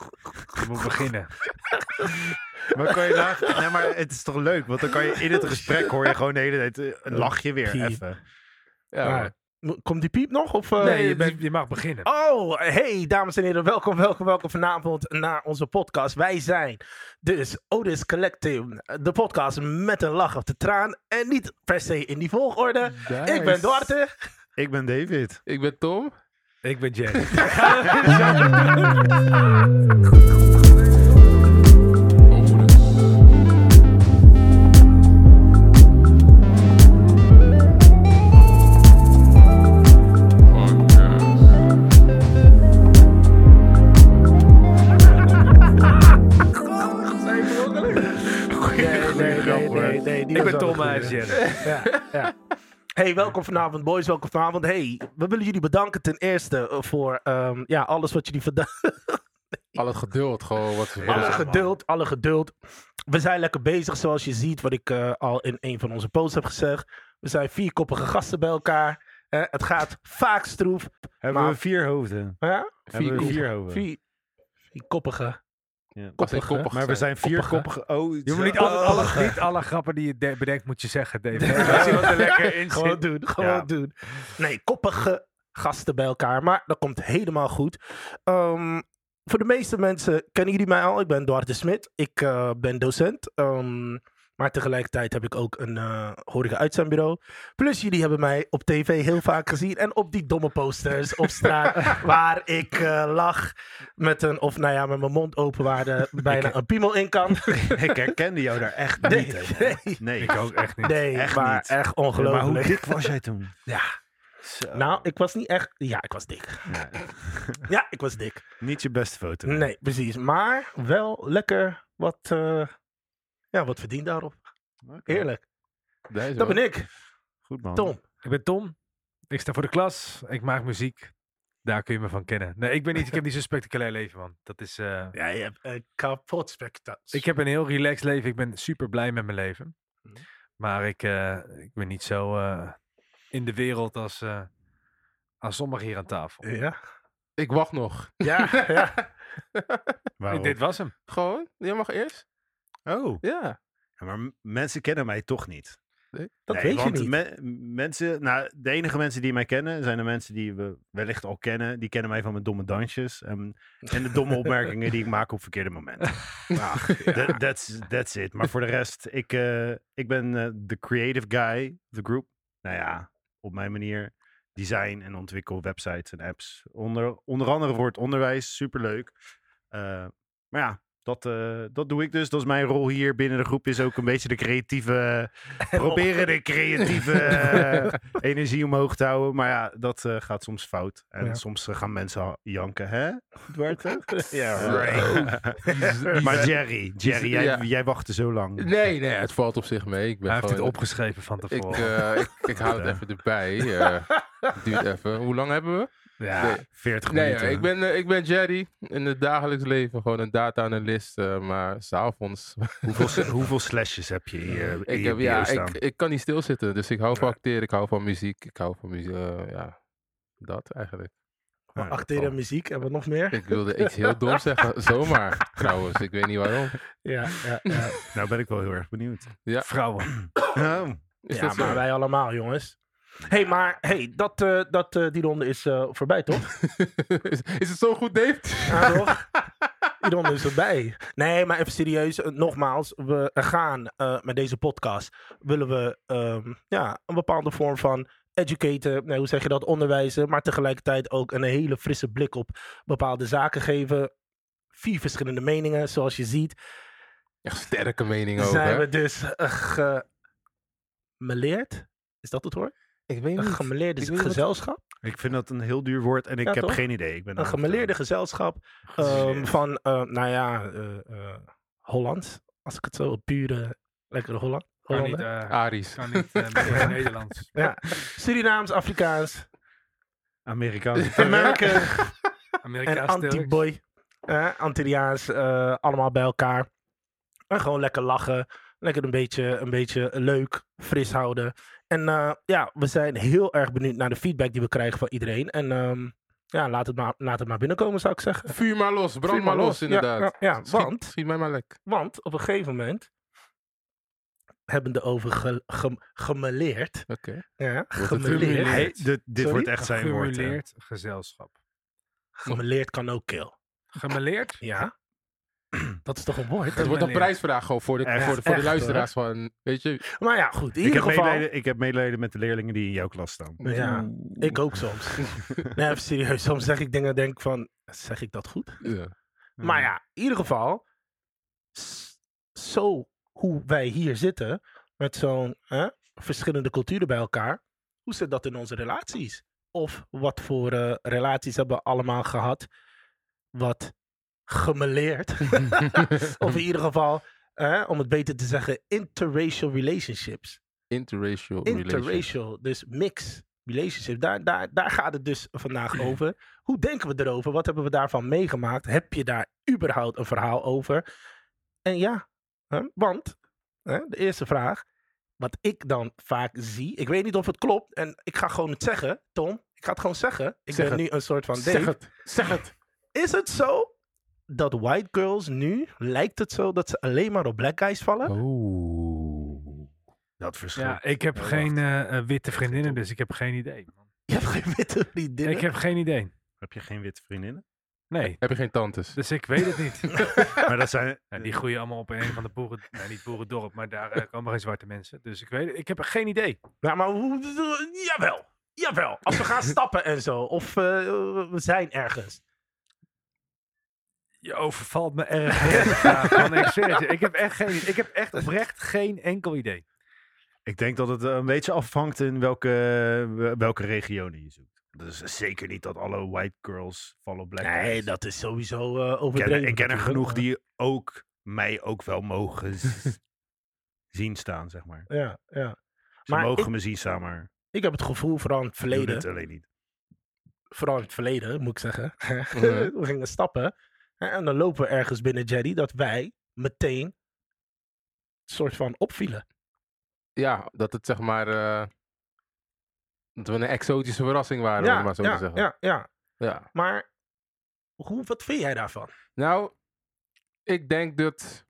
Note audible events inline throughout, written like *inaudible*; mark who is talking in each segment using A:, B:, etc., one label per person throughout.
A: over moet beginnen. Maar kan je nagaan- Nee, maar het is toch leuk? Want dan kan je in het gesprek hoor je gewoon de hele tijd eh, een lachje weer
B: Piep.
A: even.
C: Ja,
B: Maar-
C: hoor.
B: Mo- Komt die piep nog? Of, eh,
D: Oh,
A: Nee, je, bent, je mag beginnen.
B: Oh, hey dames en heren, welkom, welkom, welkom vanavond naar onze podcast. Wij zijn dus Otis Collective, de podcast met een lach of de traan en niet per se in die volgorde. Ik ben
C: Nice.
B: Duarte.
A: Ik ben David.
C: Ik ben Tom.
A: Ik ben Jack.
B: Nee, nee,
A: grap,
B: nee,
A: hoor.
B: nee, nee, die
A: Ik
B: was
A: ben
B: wel
A: Tom
B: goed.
A: IJsjer.
B: Ja, ja. *laughs* Hey, welkom vanavond, boys. Welkom vanavond. Hey, we willen jullie bedanken ten eerste eh, voor ehm, ja, alles wat jullie vandaag
C: Al het geduld gewoon wat ze
A: Ja,
B: alle
C: willen.
B: geduld, alle geduld. We zijn lekker bezig, zoals je ziet, wat ik eh, al in een van onze posts heb gezegd. We zijn vierkoppige gasten bij elkaar. Eh, het gaat vaak stroef.
A: Hebben
B: Maar-
A: we vier hoofden?
B: Hè?
A: Hebben we
C: koppen.
A: vier hoofden?
B: Vier, vierkoppige.
A: Ja.
C: Als ze
B: Koppige.
C: koppig
A: Maar we zijn vier koppige. Oh,
D: Je
A: *laughs*
D: moet niet alle, alle- niet alle grappen die je de- bedenkt, moet je zeggen, David.
A: Als iemand er lekker in
B: *laughs* Gewoon
A: zit.
B: doen, gewoon
A: Ja.
B: doen. Nee, koppige gasten bij elkaar. Maar dat komt helemaal goed. Ehm, voor de meeste mensen kennen jullie mij al. Ik ben Duarte Smit. Ik eh, ben docent. Ehm, maar tegelijkertijd heb ik ook een eh horeca uitzendbureau. Plus jullie hebben mij op tv heel vaak gezien. En op die domme posters op
A: *laughs*
B: straat. waar ik eh, lag met een, of nou ja, met mijn mond open waar
A: *laughs*
B: er bijna een piemel in kan.
A: Ik herkende jou daar echt
B: Nee,
A: niet. hè.
B: nee,
A: *laughs* Nee,
D: Ik ook echt niet.
B: nee
A: Echt
B: maar
A: niet.
B: echt
A: maar
B: ongelooflijk.
A: hoe dik was jij toen?
B: Ja.
A: Zo.
B: Nou, ik was niet echt. Ja, ik was dik. ja, ik was dik.
A: Niet je beste foto.
B: Nee, precies. Maar wel lekker wat. eh, ja, wat verdient daarop?
A: Oké.
B: Eerlijk.
C: Nee,
B: Dat ben ik,
A: Goed man.
B: Tom.
D: Ik ben Tom. Ik sta voor de klas. Ik maak muziek. Daar kun je me van kennen. Nee, ik ben niet. Ik heb niet zo'n spectaculair leven, man. Dat is. eh,
B: Ja, je hebt een kapot spectakel.
D: ik heb een heel relaxed leven. Ik ben super blij met mijn leven.
B: Mhm.
D: Maar ik, eh, ik ben niet zo eh, in de wereld als, eh, als sommigen hier aan tafel.
B: Ja.
C: Ik wacht nog.
B: Ja, ja.
A: Waarom?
D: Dit was hem.
C: Gewoon? Jij mag eerst?
A: Oh,
C: Ja.
A: ja, maar m- mensen kennen mij toch niet.
B: dat
A: Nee,
B: weet je
A: want
B: niet.
A: me- mensen, nou, de enige mensen die mij kennen zijn de mensen die we wellicht al kennen. Die kennen mij van mijn domme dansjes en, en de domme opmerkingen die ik maak op verkeerde
B: *laughs*
A: momenten.
B: Ach, ja.
A: That- that's, that's it. Maar voor de rest, ik, eh, ik ben eh, de creative guy, de groep. Nou ja, op mijn manier. Design en ontwikkel websites en apps. Onder, onder andere voor het onderwijs. Superleuk. Eh, maar ja, dat, eh, dat doe ik dus. Dat is mijn rol hier binnen de groep. Is ook een beetje de creatieve... proberen de creatieve eh,
B: *laughs*
A: energie omhoog te houden. Maar ja, dat eh, gaat soms fout. En
B: Ja.
A: soms eh, gaan mensen janken. Hè, Duarte?
B: *laughs* Ja, hoor.
A: Right.
C: *laughs*
A: Maar Jerry, Jerry jij,
C: ja.
A: jij wachtte zo lang.
C: Nee, nee, het valt op zich mee. Ik ben
D: Hij heeft het
C: gewoon-
D: opgeschreven van
C: Ik,
D: tevoren.
C: eh, ik, ik hou het even erbij. eh. *laughs* Het duurt even. Hoe lang hebben we?
D: ja.
A: 40
C: Nee,
A: minuten.
C: ja, ik, ben, eh, ik ben Jerry. In het dagelijks leven gewoon een data-analyst. eh, maar s'avonds...
A: hoeveel, hoeveel slashes heb je hier? in
C: ik,
A: je
C: heb,
A: bio
C: ja,
A: staan?
C: ik, ik kan niet stilzitten. Dus ik hou van acteren, ik hou van muziek. Ik hou van muziek, eh, ja... Dat eigenlijk.
A: Nou, dat
B: Acteren en
A: valt.
B: muziek en wat nog meer.
C: Ik wilde iets heel doms *laughs* zeggen, zomaar trouwens. Ik weet niet waarom.
B: Ja, ja, *laughs* ja.
A: Nou ben ik wel heel erg benieuwd.
D: Vrouwen.
A: Oh,
C: Is
B: ja
C: dat zo?
B: maar wij allemaal, jongens. hey, maar hey, dat, eh, dat, eh, die ronde is eh, voorbij, toch?
C: is, *laughs* is het zo goed, Dave?
B: Ja,
C: *laughs*
B: toch? Iedereen is erbij. Nee, maar even serieus. eh, Nogmaals, we gaan eh, met deze podcast... willen we ehm, ja, een bepaalde vorm van educaten... Nee, hoe zeg je dat? Onderwijzen. Maar tegelijkertijd ook een hele frisse blik op bepaalde zaken geven. Vier verschillende meningen, zoals je ziet.
C: Echt sterke mening ook,
B: zijn
C: hè?
B: we dus eh, gemeleerd? Is dat het woord?
C: Ik weet
B: Een
C: niet.
B: gemeleerde
C: Ik weet niet wat-
B: gezelschap?
A: ik vind dat een heel duur woord en ik
B: Ja,
A: heb
B: toch?
A: geen idee. Ik ben
D: Nou,
A: eh,
B: Een gemeleerde gezelschap. Ehm, van, eh, nou ja, eh, eh, Holland. Als ik het zo pure, lekkere Holland.
D: Kan niet,
B: Hollander.
D: eh,
C: Aries.
D: kan
C: *laughs*
D: niet eh, met mijn Nederlands.
B: Ja. Surinaams, Afrikaans,
C: *laughs*
A: Amerikaans.
B: American en
D: Amerikaans Turks.
B: anti-boy. Eh, Antilliaans, eh, allemaal bij elkaar. En gewoon lekker lachen. Lekker een beetje, een beetje leuk, fris houden. En eh, ja, we zijn heel erg benieuwd naar de feedback die we krijgen van iedereen. En ehm, Ja, laat het, maar, laat het maar binnenkomen, zou ik zeggen.
C: Vuur maar los, brand
B: Vuur
C: maar los,
B: Ja,
C: inderdaad.
B: Ja, ja,
C: Schiet-
B: want,
C: Schiet mij maar lek.
B: want op een gegeven moment hebben de over ge, gem- gemeleerd.
C: Oké.
B: Ja,
C: het
B: gemeleerd.
D: gemeleerd?
A: Hey, dit dit
B: Sorry?
A: wordt echt zijn woord. eh. hè.
D: Gemeleerd gezelschap.
B: Gemeleerd kan ook kill.
D: Gemeleerd?
B: Ja? *clears throat* Dat is toch een woord?
D: Ja.
C: Het wordt een prijsvraag gewoon voor de,
A: Echt,
C: voor de, voor de
B: echt,
C: luisteraars van, weet je...
B: *laughs* Maar ja, goed. In
A: Ik
B: ieder
A: heb,
B: geval.
A: medelijden, ik heb medelijden met de leerlingen die in jouw klas staan.
B: Ja, ik ook *laughs* soms. nee, even serieus. Soms zeg ik dingen, denk van, zeg ik dat goed?
C: Ja. *laughs*
B: Maar
D: Hmm.
B: ja, in ieder geval, s- zo hoe wij hier zitten, met zo'n hè, verschillende culturen bij elkaar, hoe zit dat in onze relaties? Of wat voor eh, relaties hebben we allemaal gehad? Wat
C: *laughs*
B: gemeleerd. of in ieder geval, hè, om het beter te zeggen, interracial relationships.
C: Interracial relations.
B: Interracial, dus mix relationships. Daar, daar, daar gaat het dus vandaag over. Hoe denken we erover? Wat hebben we daarvan meegemaakt? Heb je daar überhaupt een verhaal over? En ja, hè, want hè, de eerste vraag, wat ik dan vaak zie, ik weet niet of het klopt, en ik ga gewoon het zeggen, Tom, ik ga het gewoon zeggen. Ik
C: Zeg
B: ben
C: het.
B: nu een soort van
C: Zeg
B: Dave.
C: het, zeg het.
B: Is het zo dat white girls nu, lijkt het zo dat ze alleen maar op black guys vallen?
C: Oh.
A: dat verschil.
D: Ja, ik heb
A: Oh,
D: geen
A: wacht.
D: eh, eh, witte vriendinnen, dus ik heb geen idee. man.
B: Je hebt geen witte vriendinnen.
D: Ik heb geen idee.
A: Heb je geen witte
B: *laughs*
A: vriendinnen?
D: *laughs* Nee,
C: Heb je geen tantes?
D: dus ik weet het niet.
A: maar dat zijn. eh,
D: Ja, die groeien allemaal op in een van de boeren... Nou, niet boerendorp, maar daar eh, komen geen zwarte mensen. Dus ik weet het, ik heb er geen idee.
B: Nou, maar hoe... Jawel. Jawel. Als
C: *laughs*
B: we gaan stappen en zo. Of eh, we zijn ergens.
D: Je overvalt me erg. met *laughs* deze vraag, man. ik zweer het je. Ik heb echt geen, ik heb *laughs* echt oprecht geen enkel idee.
A: Ik denk dat het eh, een beetje afhangt in welke, welke regionen je zoekt. Dus zeker niet dat alle white girls follow black
B: Nee,
A: guys.
B: dat is sowieso eh
A: ik ken,
B: overdreven.
A: ik ken er
B: natuurlijk.
A: genoeg die ook mij ook wel
B: *laughs*
A: mogen z- zien staan, zeg maar.
B: Ja, ja.
A: Ze
B: Maar
A: mogen
B: ik-
A: me zien staan, maar
B: Ik heb het gevoel, vooral in het
A: doen
B: verleden...
A: het alleen niet.
B: Vooral in het verleden, moet ik zeggen.
C: Mhm.
B: *laughs* we gingen stappen. hè, En dan lopen we ergens binnen Jerry dat wij meteen soort van opvielen.
C: Ja, dat het zeg maar... eh, dat we een exotische verrassing waren, om het maar zo
B: ja,
C: te zeggen.
B: ja, ja.
C: ja.
B: Maar hoe, wat vind jij daarvan?
C: Nou, ik denk dat...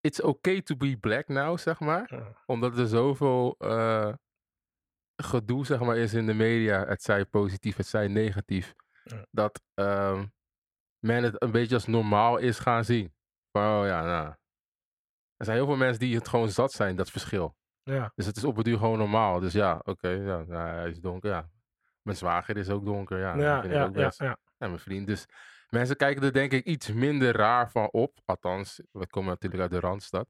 C: It's okay to be black now, zeg maar.
B: Ja.
C: Omdat er zoveel eh, gedoe, zeg maar, is in de media. Het zij positief, het zij negatief.
B: Ja.
C: Dat ehm, men het een beetje als normaal is gaan zien. Van, oh ja, nou. Er zijn heel veel mensen die het gewoon zat zijn, dat verschil.
B: Ja.
C: Dus het is op het duur gewoon normaal. Dus ja, oké, ja, nou, hij is donker, ja. Mijn zwager is ook donker, ja.
B: Ja,
C: Ah,
B: ja,
C: dat vind ik
B: ja,
C: ook
B: ja,
C: best. Ja, mijn vriend. Dus mensen kijken er denk ik iets minder raar van op. Althans, we komen natuurlijk uit de Randstad.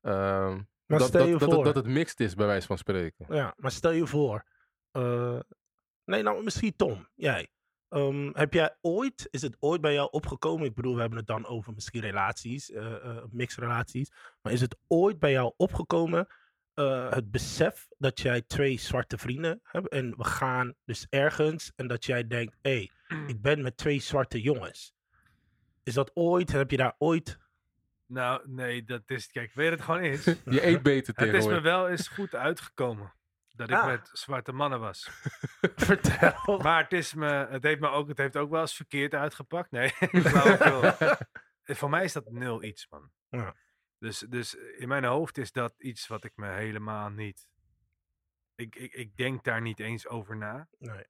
C: Ehm,
B: Maar
C: dat,
B: stel
C: dat,
B: je
C: dat,
B: voor...
C: het, dat het mixed is, bij wijze van spreken. *laughs*
B: Ja, maar stel je voor. eh, nee, nou, misschien Tom, jij. Ehm, heb jij ooit, is het ooit bij jou opgekomen? Ik bedoel, we hebben het dan over misschien relaties, eh eh mixrelaties. Maar is het ooit bij jou opgekomen eh, het besef dat jij twee zwarte vrienden hebt en we gaan dus ergens en dat jij denkt, hé, hey, ik ben met twee zwarte jongens. Is dat ooit, heb je daar ooit...
D: Nou, nee, dat is... Kijk, weet je wat het gewoon is?
B: *laughs*
C: Je eet beter
D: Het is me
C: tegenwoordig.
D: wel eens goed uitgekomen dat ik
B: Ah. Oh.
D: met zwarte mannen was.
B: Vertel.
D: Maar het, is me, het, heeft me ook, het heeft ook wel eens verkeerd uitgepakt. Nee, *laughs*
B: *laughs*
D: flauwekul. Eh, voor mij is dat nul iets, man.
B: Ja.
D: Dus, dus in mijn hoofd is dat iets wat ik me helemaal niet... Ik, ik, ik denk daar niet eens over na.
B: Nee.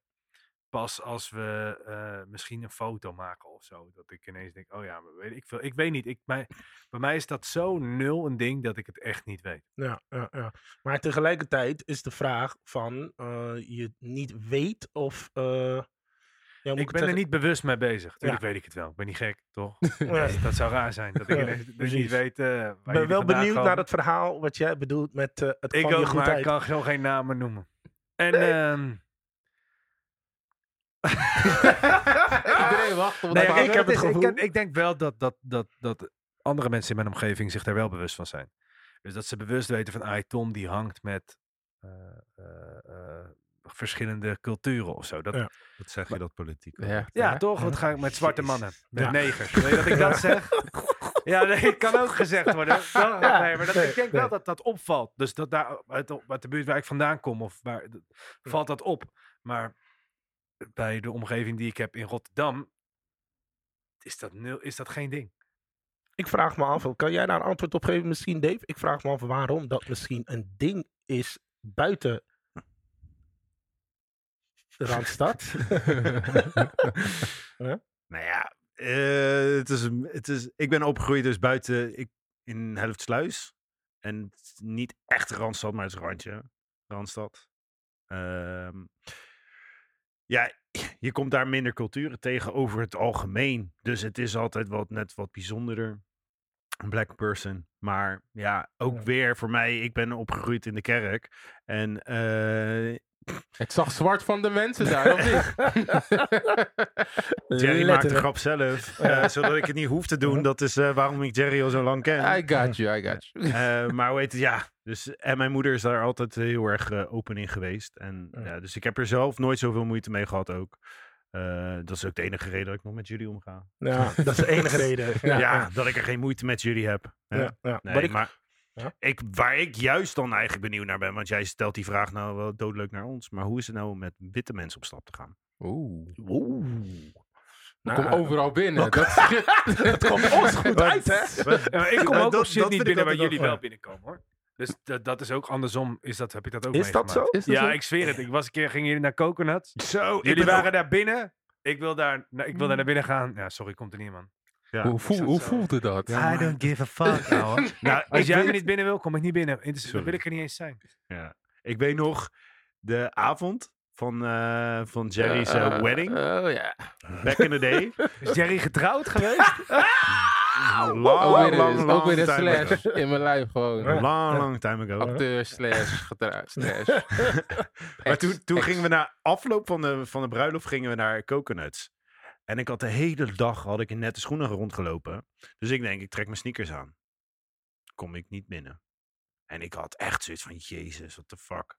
D: Pas als we eh, misschien een foto maken of zo. Dat ik ineens denk, oh ja, maar weet ik, veel. ik weet niet. Ik, mij, bij mij is dat zo nul een ding dat ik het echt niet weet.
B: Ja, ja, ja. Maar tegelijkertijd is de vraag van eh, je niet weet of. eh, ja, hoe moet
D: Ik
B: het
D: ben er
B: zeggen?
D: niet bewust mee bezig. Tuurlijk weet ik het wel. Ik ben niet gek, toch?
B: *laughs* Nee.
D: Dat zou raar zijn. Dat ik,
B: Ja,
D: ineens- dat ik
B: precies.
D: niet weet eh, waar
B: Ik ben
D: jullie
B: wel
D: vandaan
B: benieuwd
D: komen.
B: naar het verhaal wat jij bedoelt met eh, het kwam
D: Ik
B: je
D: ook,
B: goed
D: maar ik
B: uit.
D: kan zo geen namen noemen. En ehm,
C: *laughs*
D: *laughs*
C: Iedereen wacht op
D: nee,
C: dat
D: maar
B: ik
D: ik,
B: heb
D: het
B: het
D: is- ik,
B: gevoel-
D: heb- ik denk wel dat, dat, dat, dat andere mensen in mijn omgeving zich daar wel bewust van zijn. Dus dat ze bewust weten van, ah, Tom die hangt met eh, eh, eh, verschillende culturen of zo. Dat,
B: Ja.
A: Wat zeg je dat politiek? *laughs*
C: Ja,
D: Ja,
C: ja.
D: toch? Wat ga ik met zwarte mannen? Met
B: Ja.
D: negers. Wil je dat ik dat *laughs* zeg? Ja, nee, het kan ook gezegd worden. Dan-
B: Ja,
D: nee, maar dat,
B: nee,
D: ik denk
B: nee.
D: wel dat dat opvalt. Dus dat daar uit, de- uit de buurt waar ik vandaan kom, of waar, d- valt dat op. Maar bij de omgeving die ik heb in Rotterdam, is dat, nul, is dat geen ding.
B: Ik vraag me af, kan jij daar een antwoord op geven misschien, Dave? Ik vraag me af waarom dat misschien een ding is buiten de
D: *laughs*
B: Randstad.
A: Nou ja, eh, het is, het is, ik ben opgegroeid dus buiten ik, in Helftsluis. En het is niet echt Randstad, maar het is Randje. Randstad. Ehm, ja, je komt daar minder culturen tegen over het algemeen. Dus het is altijd wat, net wat bijzonderder. Een black person. Maar ja, ook
B: Ja.
A: weer voor mij, ik ben opgegroeid in de kerk. En eh,
C: Ik zag zwart van de mensen daar, of niet?
B: *laughs*
A: Jerry maakt de
B: Letterlijk.
A: grap zelf. eh, zodat ik het niet hoef te doen. Dat is eh, waarom ik Jerry al zo lang ken.
C: I got you, I got you.
A: Eh, maar hoe heet het, ja. Dus, en mijn moeder is daar altijd heel erg eh, open in geweest. En,
B: Ja.
A: ja, dus ik heb er zelf nooit zoveel moeite mee gehad ook. Eh, dat is ook de enige reden dat ik nog met jullie omga.
B: Ja, dat is de enige reden.
A: Ja, dat ik er geen moeite met jullie heb.
B: ja,
A: Ja.
B: ja.
A: Nee,
B: Maar ik-
A: maar
B: Ja.
A: ik, waar ik juist dan eigenlijk benieuwd naar ben, want jij stelt die vraag nou wel doodleuk naar ons. Maar hoe is het nou om met witte mensen op stap te gaan?
C: Oeh.
B: Oeh.
A: *laughs*
B: Nou,
C: Kom overal binnen. Dat
B: dat komt ons goed uit, hè?
A: *laughs*
D: Eh, ik kom
A: Ja,
D: ook
A: dat-
D: op shit
A: dat vind
D: niet
A: ik
D: binnen waar
A: altijd
D: jullie
A: wel
D: wel binnenkomen hoor. Dus dat, dat is ook andersom. Is dat, heb ik dat ook
B: Is dat
D: meegemaakt.
B: zo?
C: is dat
D: Ja,
C: zo?
D: ik zweer het. Ik was een keer, gingen jullie naar Coconuts.
A: Zo,
D: Jullie waren daar binnen. Ik wil daar, nou, ik wil daar naar binnen gaan. Ja, sorry, komt er niet man.
A: Ja.
C: Hoe, voel, hoe voelde dat?
D: I don't give a fuck, ouwe.
A: Nou,
D: Als
A: ik
D: jij
A: weet-
D: er niet binnen wil, kom ik niet binnen. Inter- Dan
A: Sorry.
D: wil ik er niet eens zijn.
A: Ik weet nog de avond van, eh, van Jerry's eh,
C: Eh,
A: wedding,
C: Oh ja.
B: eh,
A: back in the day.
D: *laughs* Is Jerry getrouwd geweest?
A: Lang,
C: Ook weer
A: lang,
C: een-
A: Oh, lang,
C: ook weer een
A: time ago.
C: slash in mijn lijf gewoon.
A: *laughs* Een Lang, lang time ago.
C: Acteur slash gedraaid slash.
A: Maar toen, toen gingen we na afloop van de, van de bruiloft gingen we naar Coconuts. En ik had de hele dag had ik in nette schoenen rondgelopen. Dus ik denk, ik trek mijn sneakers aan. Kom ik niet binnen. En ik had echt zoiets van, jezus, what the fuck.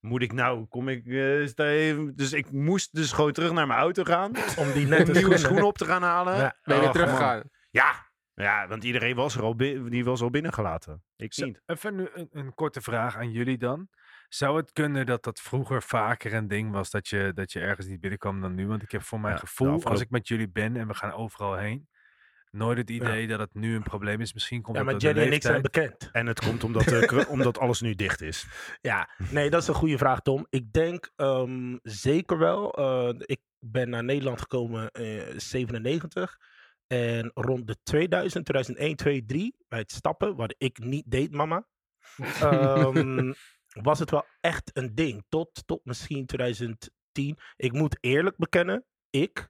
A: Moet ik nou, kom ik... eh, is daar even- dus ik moest dus gewoon terug naar mijn auto
C: *laughs*
A: gaan.
B: Om die
A: Om
D: *laughs*
B: nette
A: nieuwe
B: schoenen.
A: schoenen op te gaan halen.
B: Ja,
A: Och,
C: Ben je weer
A: Oh, man.
C: teruggegaan?
A: Ja. ja, want iedereen was er al, bi- die was al binnengelaten. Ik niet.
D: Even nu een, een korte vraag aan jullie dan. Zou het kunnen dat dat vroeger vaker een ding was dat je, dat je ergens niet binnenkwam dan nu? Want ik heb voor mijn
A: Ja, de
D: gevoel, als
A: afgelopen-
D: ik met jullie ben en we gaan overal heen, nooit het idee dat het nu een probleem is. Misschien komt
B: Ja,
D: het
B: maar
D: door de
B: Jerry en ik zijn
D: leeftijd.
B: bekend.
A: En het komt omdat, de
B: *laughs*
A: cor- omdat alles nu dicht is.
B: Ja, nee, dat is een goede vraag, Tom. Ik denk ehm, zeker wel. eh, ik ben naar Nederland gekomen in 97. En rond de 2000, 2001, 2003, bij het stappen, wat ik niet deed, mama, ehm, was het wel echt een ding. Tot, tot misschien 2010. Ik moet eerlijk bekennen, ik,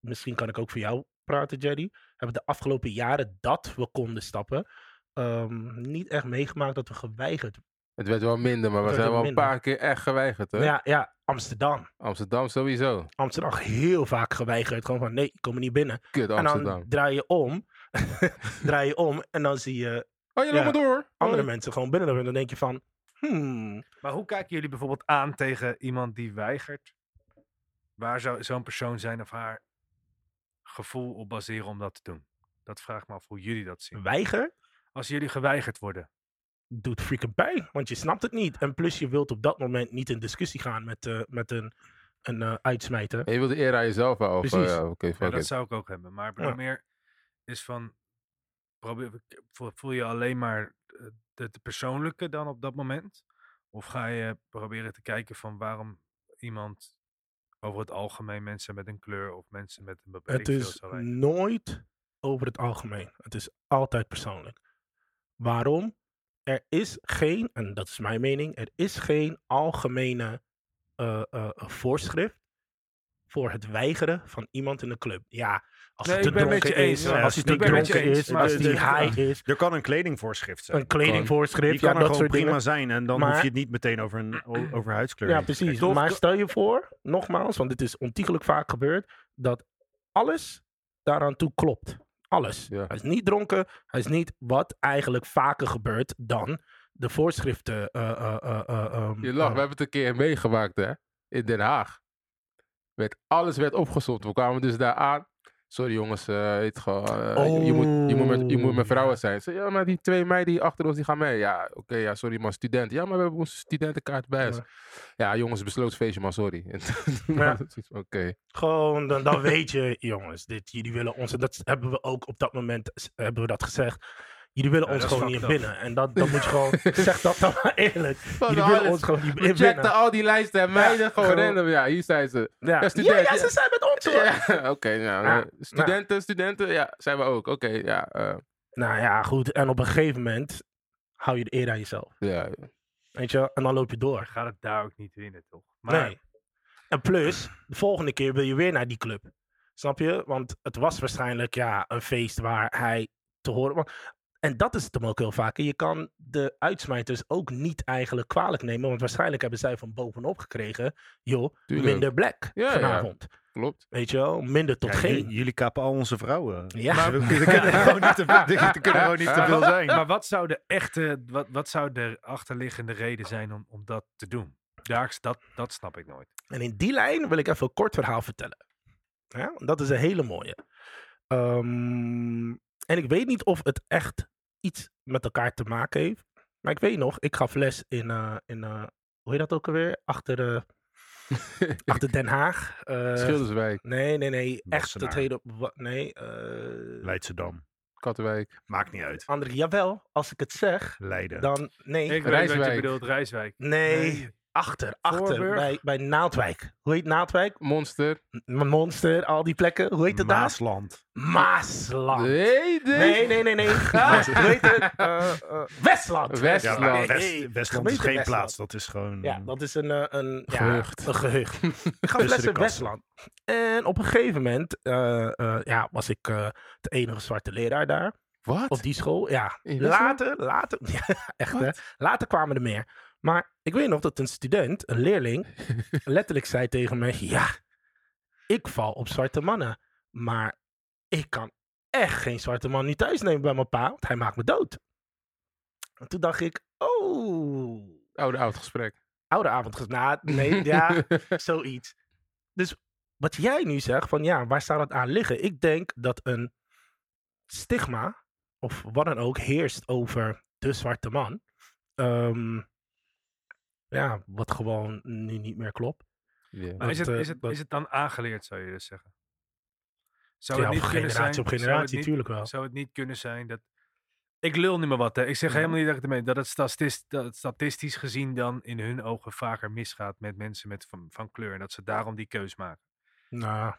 B: misschien kan ik ook voor jou praten, Jerry, hebben de afgelopen jaren dat we konden stappen, ehm, niet echt meegemaakt dat we geweigerd
C: Het werd wel minder, maar we
B: Het werd
C: zijn wel
B: wel
C: een paar keer echt geweigerd, hè?
B: ja, ja, Amsterdam.
C: Amsterdam sowieso.
B: Amsterdam heel vaak geweigerd. Gewoon van nee, ik kom er niet binnen.
C: Kut
B: En
C: Amsterdam.
B: dan draai je om. *laughs* draai je om en dan zie je
C: Oh, je loopt
B: ja.
C: maar door.
B: andere
C: Oh.
B: mensen gewoon binnen. En dan denk je van, hmm.
D: Maar hoe kijken jullie bijvoorbeeld aan tegen iemand die weigert? Waar zou zo'n persoon zijn of haar gevoel op baseren om dat te doen? Dat vraag ik me af hoe jullie dat
B: Hm.
D: zien.
B: weiger
D: Als jullie geweigerd worden.
B: doet freaking pijn. Want je snapt het niet. En plus je wilt op dat moment niet in discussie gaan met, eh, met een, een eh, uitsmijter.
C: Je wilde eer aan jezelf houden. of,
B: Precies.
C: eh, Oké,
D: Ja,
C: fuck
D: dat
C: it.
D: zou ik ook hebben. Maar ik bedoel
B: Ja.
D: meer is van, probeer, voel- voel je alleen maar eh, de, de persoonlijke dan op dat moment? Of ga je proberen te kijken van waarom iemand over het algemeen mensen met een kleur of mensen met een beperking
B: Het is
D: zou weigeren?
B: nooit over het algemeen. Het is altijd persoonlijk. Waarom? Er is geen, en dat is mijn mening, er is geen algemene eh, eh, voorschrift voor het weigeren van iemand in de club. Ja, als
D: Nee,
B: hij te
D: ik ben met
B: dronken
D: je
B: is, eh,
D: eens, ja.
B: als hij
D: Ik
B: te
D: ben met je
B: dronken
D: eens,
B: is,
D: maar
B: als
D: het
B: hij
D: is echt
B: high is,
A: Er kan een kledingvoorschrift zijn.
B: een kledingvoorschrift,
A: Die kan
B: ja,
A: er
B: dat
A: gewoon
B: soort
A: prima
B: dingen.
A: zijn. En dan hoef
B: Maar-
A: je het niet meteen over, een,
B: *clears throat*
A: o- over huidskleur.
B: Ja,
A: heen te
B: precies.
A: trekken.
B: Maar stel je voor, nogmaals, want dit is ontiegelijk vaak gebeurd, dat alles daaraan toe klopt. Alles.
C: Ja.
B: Hij is niet dronken, hij is niet wat eigenlijk vaker gebeurt dan de voorschriften. eh, eh, eh, eh, ehm,
C: Je lacht,
B: eh,
C: we hebben het een keer meegemaakt, hè? In Den Haag. Werd, alles werd opgesomd. We kwamen dus daar aan. Sorry jongens, eh, weet gewoon, eh, je- je, moet, je, moet met, je moet met
B: Oh,
C: vrouwen zijn. Ik Zei, ja, maar die twee meiden die achter ons, die gaan mee. Ja, oké, ja, sorry maar student. Ja, maar we hebben onze studentenkaart bij ons. Ja, jongens, besloten feestje, maar sorry. *laughs* En toen
B: Ja.
C: hadden ze iets van, Oké.
B: Gewoon, dan,
C: *laughs*
B: dan weet je, jongens, dit, jullie willen ons, en dat hebben we ook op dat moment s- hebben we dat gezegd. Jullie willen
D: Ja,
B: ons
D: dat is
B: gewoon niet
D: fucked up.
B: binnen. En dat, dat moet je gewoon,
C: *laughs*
B: zeg dat dan maar eerlijk. Jullie
C: nou,
B: willen
C: alles-
B: ons gewoon niet
C: We
B: in-
C: checkten
B: binnen.
C: al die lijsten en meiden gewoon
B: gewoon-
C: random. Ja, hier zijn ze.
B: Ja.
C: Ja,
B: Ja,
C: student,
B: ja,
C: ja.
B: ze zijn met ons hoor.
C: Ja, *laughs* oké. nou,
B: Ja,
C: eh, studenten, studenten, ja, zijn we ook. Oké, ja, eh,
B: Nou ja, goed. En op een gegeven moment hou je de eer aan jezelf.
C: ja.
B: Weet je, wel? en dan loop je door.
D: Gaat het daar ook niet winnen, toch? Maar
B: Nee. En plus, de volgende keer wil je weer naar die club. Snap je? Want het was waarschijnlijk ja, een feest waar hij te horen was. En dat is het hem ook heel vaak. En je kan de uitsmijters ook niet eigenlijk kwalijk nemen. Want waarschijnlijk hebben zij van bovenop gekregen... joh,
C: Tuurlijk.
B: minder black
C: Ja, ja.
B: vanavond.
C: klopt.
B: Weet je wel? Minder tot
A: Ja,
B: geen.
A: j- jullie kappen al onze vrouwen.
B: *laughs* Ja.
A: Dus we, er
B: *laughs*
A: kunnen gewoon niet te, er kunnen gewoon niet te veel zijn.
D: Maar wat zou de echte, wat, wat zou de achterliggende reden zijn om, om dat te doen? Daar, dat, dat snap ik nooit.
B: En in die lijn wil ik even een kort verhaal vertellen. Ja, want dat is een hele mooie. Ehm, en ik weet niet of het echt iets met elkaar te maken heeft. Maar ik weet nog, ik gaf les in, eh, in eh, hoe heet dat ook alweer? Achter,
D: *laughs*
B: eh, achter Den Haag. Eh,
C: Schilderswijk,
B: nee, nee, nee. Echt het
A: Wassenaar.
B: hele... wa- Nee. eh
A: Leidschendam.
C: Kattenwijk.
A: Maakt niet uit.
B: André, jawel. Als ik het zeg,
A: Leiden.
B: dan... Nee,
D: Ik
C: weet wat je
D: wat
C: Rijswijk.
D: je
C: bedoelt,
D: bedoelt, Rijswijk.
B: nee.
D: Nee.
B: Achter, achter.
D: Voorburg.
B: Bij, bij Naaldwijk. Hoe heet Naaldwijk?
C: Monster.
B: M- Monster, al die plekken. Hoe heet het daar?
A: Maasland.
B: Maasland.
C: Nee, nee.
B: Ah. Nee, nee, nee,
A: *laughs*
B: nee. Ah, hoe heet het? Eh, eh, Westland.
A: Ja,
C: Westland.
A: maar
B: Hey,
A: West,
B: hey,
A: Westland is
B: gemeente
A: geen
B: Westland.
A: plaats. Dat is gewoon...
B: Ja, dat is een, eh, een, ja,
C: Gehucht.
B: een
A: *laughs*
B: gehucht. Ik gaf
A: Tussen
B: les
A: de
B: in
A: kassen.
B: Westland. En op een gegeven moment eh, eh, ja, was ik eh, de enige zwarte leraar daar.
C: Wat?
B: Op die school, ja.
C: In Westland?
B: Later, later. *laughs* Ja, echt hè. Later kwamen er meer. Maar ik weet nog dat een student, een leerling, letterlijk zei tegen mij... Ja, ik val op zwarte mannen. Maar ik kan echt geen zwarte man niet thuis nemen bij mijn pa. Want hij maakt me dood. En toen dacht ik, oh...
C: Oude oud gesprek.
B: Oude avond. Nou, nee, ja,
C: *laughs*
B: zoiets. Dus wat jij nu zegt, van ja, waar zou dat aan liggen? Ik denk dat een stigma, of wat dan ook, heerst over de zwarte man. Ehm, ja, wat gewoon nu niet meer klopt.
C: Ja.
D: Maar is,
B: Dat,
D: het,
B: eh,
D: is, het,
B: dat-
D: is het dan aangeleerd, zou je dus zeggen? Zou
B: Ja,
D: het
B: op
D: niet kunnen
B: generatie
D: zijn,
B: op
D: zou het
B: generatie,
D: niet-
B: tuurlijk wel.
D: Zou het niet kunnen zijn dat... Ik lul niet meer wat, hè. Ik zeg
B: Ja.
D: helemaal niet dat ik het meen. Dat het, statistisch, dat het statistisch gezien dan in hun ogen vaker misgaat met mensen met van, van kleur. En dat ze daarom die keus maken.
B: Nou,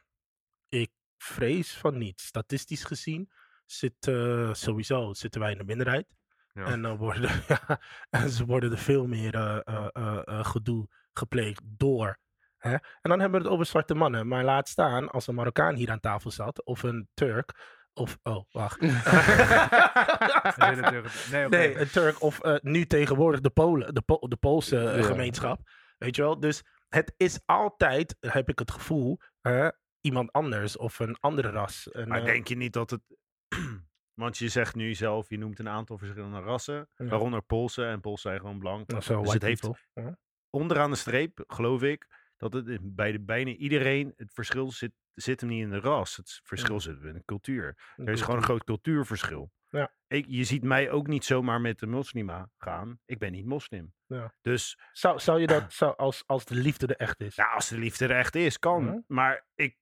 B: ik vrees van niet. Statistisch gezien zit, eh, sowieso zitten wij in de minderheid.
D: Ja.
B: En, dan worden, *laughs* en ze worden er veel meer eh, eh, eh, eh, gedoe gepleegd door. Hè? En dan hebben we het over zwarte mannen. Maar laat staan, als een Marokkaan hier aan tafel zat, of een Turk, of, oh,
A: *laughs*
B: wacht.
D: *laughs* Ze
B: *laughs*
D: willen terug- nee, oké.
B: Nee, een Turk of eh, nu tegenwoordig de Polen, de, Po- de Poolse eh,
C: Ja.
B: gemeenschap. Weet je wel? Dus het is altijd, heb ik het gevoel, eh, iemand anders of een andere ras. Een,
A: Maar
B: eh,
A: denk je niet dat het... *clears throat* Want je zegt nu zelf, je noemt een aantal verschillende rassen.
B: Ja.
A: Waaronder Polsen. En Polsen zijn gewoon blank.
B: nou, zo,
A: dus
B: white
A: het heeft-
B: people. Ja.
A: Onderaan de streep, geloof ik, dat het in- bij de, bijna iedereen... Het verschil zit, zit hem niet in de ras. Het verschil zit hem in de cultuur. Er
B: Dus-
A: is gewoon een groot cultuurverschil.
B: Ja.
A: Ik, je ziet mij ook niet zomaar met de moslima gaan. Ik ben niet moslim.
B: Ja.
A: Dus
B: Zou, zou je dat, zou, als, als de liefde er echt *laughs* is?
A: nou, als de liefde er echt is, kan.
B: Ja.
A: Maar ik...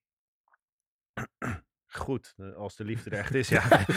A: *clears throat* Goed, eh, als de liefde er echt
B: *laughs*
A: is, ja.
B: ik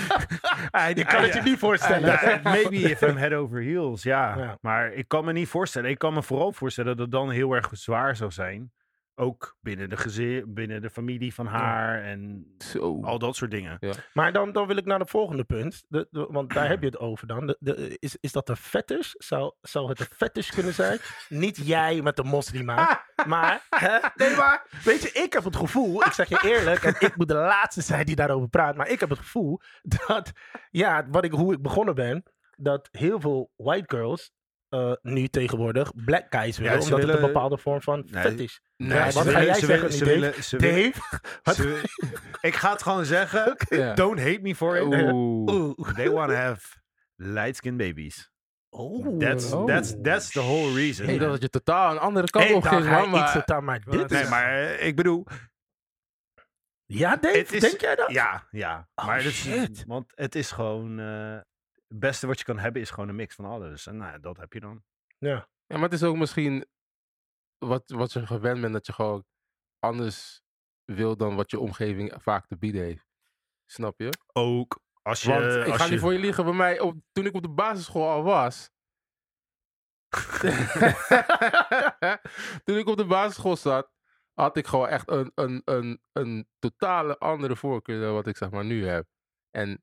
B: Ah, kan het je niet voorstellen.
A: Ja, maybe if I'm head over heels, ja.
B: Ja.
A: Maar ik kan me niet voorstellen. Ik kan me vooral voorstellen dat het dan heel erg zwaar zou zijn. Ook binnen de gezin, binnen de familie van haar en
B: Oh,
C: Zo.
A: al dat soort dingen.
B: Maar dan, dan wil ik naar het volgende punt. De, de- want daar heb je het over dan. De, de- is, is dat een fetish? Zou, zou het een fetish kunnen zijn? Niet jij met de moslima. Maar, hè? nee, maar, weet je, ik heb het gevoel, ik zeg je eerlijk, en ik moet de laatste zijn die daarover praat, maar ik heb het gevoel dat, ja, wat ik, hoe ik begonnen ben, dat heel veel white girls eh, nu tegenwoordig black guys willen,
A: ze
B: omdat het een
A: willen-
B: bepaalde vorm van
A: Nee,
B: fetish.
C: Nee,
B: Ja,
A: ze
B: wat ga
A: willen-
B: jij
A: ze
B: zeggen
A: willen- ze
B: nu, Dave?
A: willen- ze willen-
B: Dave? Wat?
A: Ze- *laughs* ik ga het gewoon zeggen.
C: Ja.
A: Don't hate me for it. *laughs*
C: Oeh.
B: Oeh.
A: They want to have light skin babies.
B: Oh.
A: That's, that's, that's the whole reason.
C: Ik dacht dat je totaal een andere kant
B: Ik
C: op
B: dacht
C: ging,
B: hij
C: man,
B: iets
C: maar...
A: eh,
B: totaal, maar
D: wou
B: dit
D: net
A: Nee,
B: is...
A: maar eh, ik bedoel...
B: Ja, Dave,
A: Het is-
B: denk jij dat?
A: Ja, ja.
B: Oh,
A: maar dat
B: shit.
A: Is, want het is gewoon... eh, het beste wat je kan hebben is gewoon een mix van alles. En nou, ja, dat heb je dan.
C: Ja, maar het is ook misschien wat, wat je gewend bent dat je gewoon anders wil dan wat je omgeving vaak te bieden heeft. Snap je?
A: Ook als je...
C: Want ik
A: als
C: ga
A: je,
C: niet voor je liegen. Bij mij, op, toen ik op de basisschool al was. toen ik op de basisschool zat, had ik gewoon echt een, een, een, een totale andere voorkeur dan wat ik zeg maar nu heb. En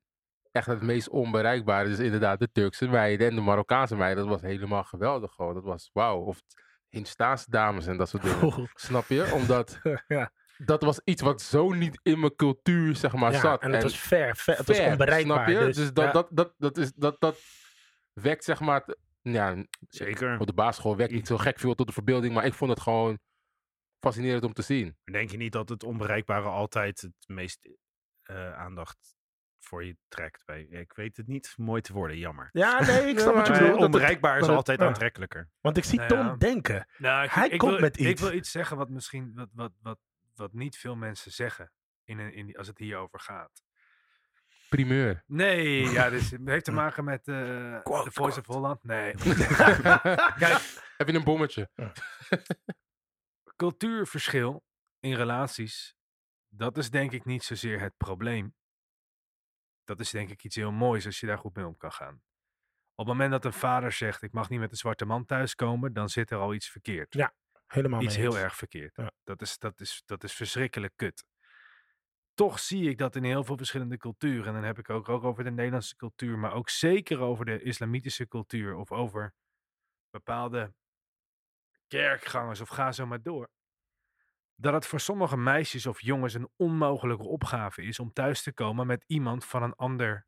C: echt het meest onbereikbare is inderdaad de Turkse meiden en de Marokkaanse meiden. Dat was helemaal geweldig gewoon. Dat was wauw. Of Hinstaanse dames en dat soort dingen.
B: *laughs*
C: Snap je? Omdat
B: ja.
C: dat was iets wat zo niet in mijn cultuur zeg maar
B: Ja,
C: zat.
B: en het
C: En-
B: was ver, ver- het was
C: fair,
B: onbereikbaar.
C: Snap je? Dus,
B: Dus,
C: dat,
B: ja.
C: dat, dat, dat, is, dat, dat wekt zeg maar... t- Ja,
A: Zeker.
C: op de basisschool wekt niet zo gek veel tot de verbeelding, maar ik vond het gewoon fascinerend om te zien.
A: Denk je niet dat het onbereikbare altijd het meest eh, aandacht voor je trekt? Bij, ik weet het niet mooi te worden, jammer.
B: ja, nee, ik snap
C: Ja,
B: wat je
A: Maar
C: maar-
B: bedoelt. dat-
A: onbereikbaar is
B: dat-
A: altijd
B: ja.
A: aantrekkelijker.
B: Want ik zie
D: Nou
B: Tom
D: ja.
B: denken.
D: *laughs* Nou, ik,
B: Hij
D: ik
B: komt
D: wil,
B: met
D: Ik
B: iets.
D: wil iets zeggen wat misschien wat, wat, wat, wat niet veel mensen zeggen in, een- in, als het hierover gaat.
C: *laughs* Primeur.
D: Nee, ja, dus het
B: *laughs*
D: heeft te maken met eh The Voice of Holland. Nee.
C: Heb je een bommetje?
D: Cultuurverschil in relaties, dat is denk ik niet zozeer het probleem. Dat is denk ik iets heel moois als je daar goed mee om kan gaan. Op het moment dat een vader zegt, ik mag niet met een zwarte man thuiskomen, dan zit er al iets verkeerd.
B: Helemaal
D: iets
B: mee
D: heel
B: eens.
D: erg verkeerd.
B: Ja.
D: Dat, is, dat, is, dat is verschrikkelijk kut. Toch zie ik dat in heel veel verschillende culturen. En dan heb ik ook, ook over de Nederlandse cultuur, maar ook zeker over de islamitische cultuur of over bepaalde kerkgangers of ga zo maar door. Dat het voor sommige meisjes of jongens een onmogelijke opgave is om thuis te komen met iemand van een ander,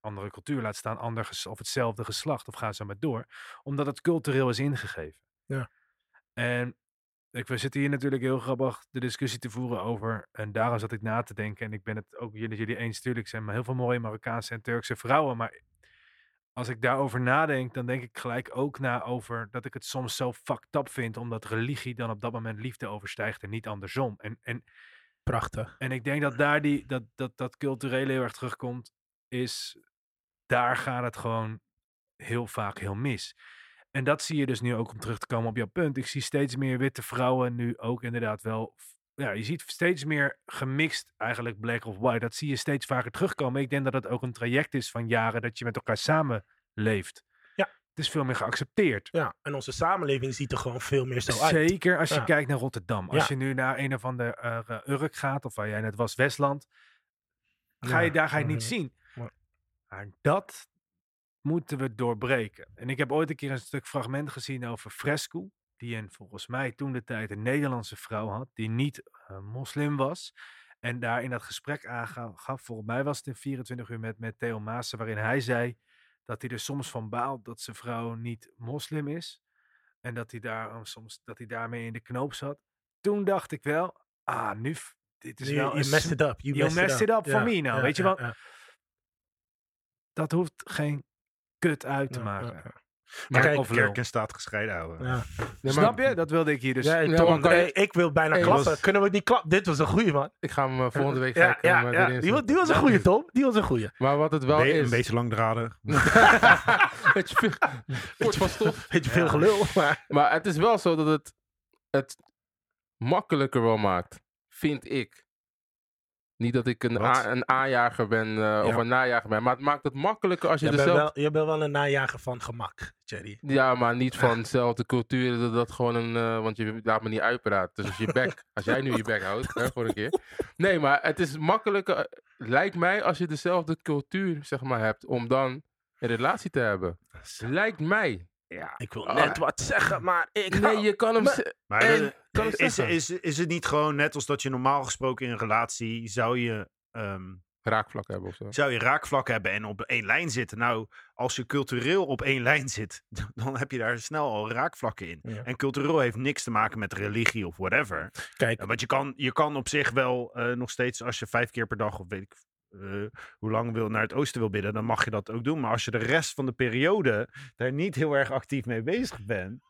D: andere cultuur, laat staan, ander ges- of hetzelfde geslacht of ga zo maar door, omdat het cultureel is ingegeven. En ik, we zitten hier natuurlijk heel grappig de discussie te voeren over. En daarom zat ik na te denken. En ik ben het ook jullie, jullie eens. Tuurlijk zijn maar heel veel mooie Marokkaanse en Turkse vrouwen. Maar als ik daarover nadenk, dan denk ik gelijk ook na over dat ik het soms zo fucked up vind. Omdat religie dan op dat moment liefde overstijgt en niet andersom. En, en,
B: Prachtig.
D: en ik denk dat daar die, dat, dat, dat culturele heel erg terugkomt. Is daar gaat het gewoon heel vaak heel mis. En dat zie je dus nu ook om terug te komen op jouw punt. Ik zie steeds meer witte vrouwen nu ook inderdaad wel. Ja, je ziet steeds meer gemixt eigenlijk black of white. Dat zie je steeds vaker terugkomen. Ik denk dat het ook een traject is van jaren dat je met elkaar samenleeft.
B: Ja.
D: Het is veel meer geaccepteerd.
B: Ja, en onze samenleving ziet er gewoon veel meer zo uit.
D: Zeker als je
B: Ja.
D: kijkt naar Rotterdam. Als
B: Ja.
D: je nu naar een of ander eh, eh, Urk gaat, of waar jij net was, Westland. Ga
B: Ja,
D: je, daar ga je het niet
B: mhm.
D: zien.
B: Ja.
D: Maar dat moeten we doorbreken. En ik heb ooit een keer een stuk fragment gezien over Fresco. Die een, volgens mij toen de tijd een Nederlandse vrouw had. Die niet eh, moslim was. En daar in dat gesprek aangaf. Volgens mij was het in 24 uur met, met Theo Maassen. Waarin hij zei dat hij er soms van baalt dat zijn vrouw niet moslim is. En dat hij, daar, oh, soms, dat hij daarmee in de knoop zat. Toen dacht ik wel, ah, nu, f- dit is
B: You,
D: wel
B: you
D: een
B: messed it up. You,
D: you messed it up for
B: Ja,
D: me now,
B: ja,
D: weet je
B: ja,
D: wel?
B: ja,
D: dat hoeft geen kut uit te
B: ja,
D: maken.
B: ja, ja.
C: Maar
B: kijk,
D: of lul.
A: Kerk en staat gescheiden houden.
B: Ja.
C: Nee, maar
D: Snap je? Dat wilde ik hier dus.
B: Ja, hey,
C: Ja,
B: Tom,
C: maar kan je-
B: hey, ik wil bijna
C: Hey,
B: klappen.
A: was-
B: Kunnen we niet klappen? Dit was een goeie, man.
C: Ik ga hem eh, volgende week ga
B: Ja,
C: ik hem,
B: ja,
C: eh,
B: ja.
C: erin
B: Die, was- die was een
C: zetten.
B: goeie, Tom. Die was een goeie.
C: Maar wat het wel
A: Be-
C: is...
A: Een
C: *laughs*
A: beetje langdradig.
C: Beetje
A: *laughs*
C: veel- kort van stof.
B: Beetje veel gelul, *laughs* maar...
C: Maar het is wel zo dat het het makkelijker wel maakt, vind ik. Niet dat ik een,
A: Wat?
C: a- een aanjager ben eh, of een najager ben, maar het maakt het makkelijker als je
B: Je
C: er
B: bent,
C: zelf...
B: wel, je bent wel een najager van gemak, Jerry.
C: Ja,
B: *laughs*
C: maar niet van dezelfde cultuur. Dat, dat gewoon een. eh, want je laat me niet uitpraten. Dus als je bek. als jij nu je bek houdt, hè, voor een keer. Nee, maar het is makkelijker. eh, Lijkt mij als je dezelfde cultuur, zeg maar, hebt. om dan een relatie te hebben. Lijkt mij.
B: Ik wil
C: Ah.
B: net wat zeggen, maar ik...
C: Nee, je kan hem.
B: maar-
C: ze-
A: Maar
C: En-
A: dat-
C: kan ik
A: is,
C: zeggen?
A: is, is het niet gewoon net als dat je normaal gesproken in een relatie zou je, ehm,
C: raakvlak hebben of zo.
A: zou je raakvlak hebben en op één lijn zitten? Nou, als je cultureel op één lijn *laughs* zit, dan heb je daar snel al raakvlakken in.
B: Ja.
A: En cultureel heeft niks te maken met religie of
B: *laughs*
A: whatever.
B: Kijk,
A: Ja, Want je kan, je kan op zich wel eh, nog steeds, als je vijf keer per dag of weet ik eh, hoe lang wil, naar het oosten wil bidden, dan mag je dat ook doen. Maar als je de rest van de periode daar niet heel erg actief mee bezig bent,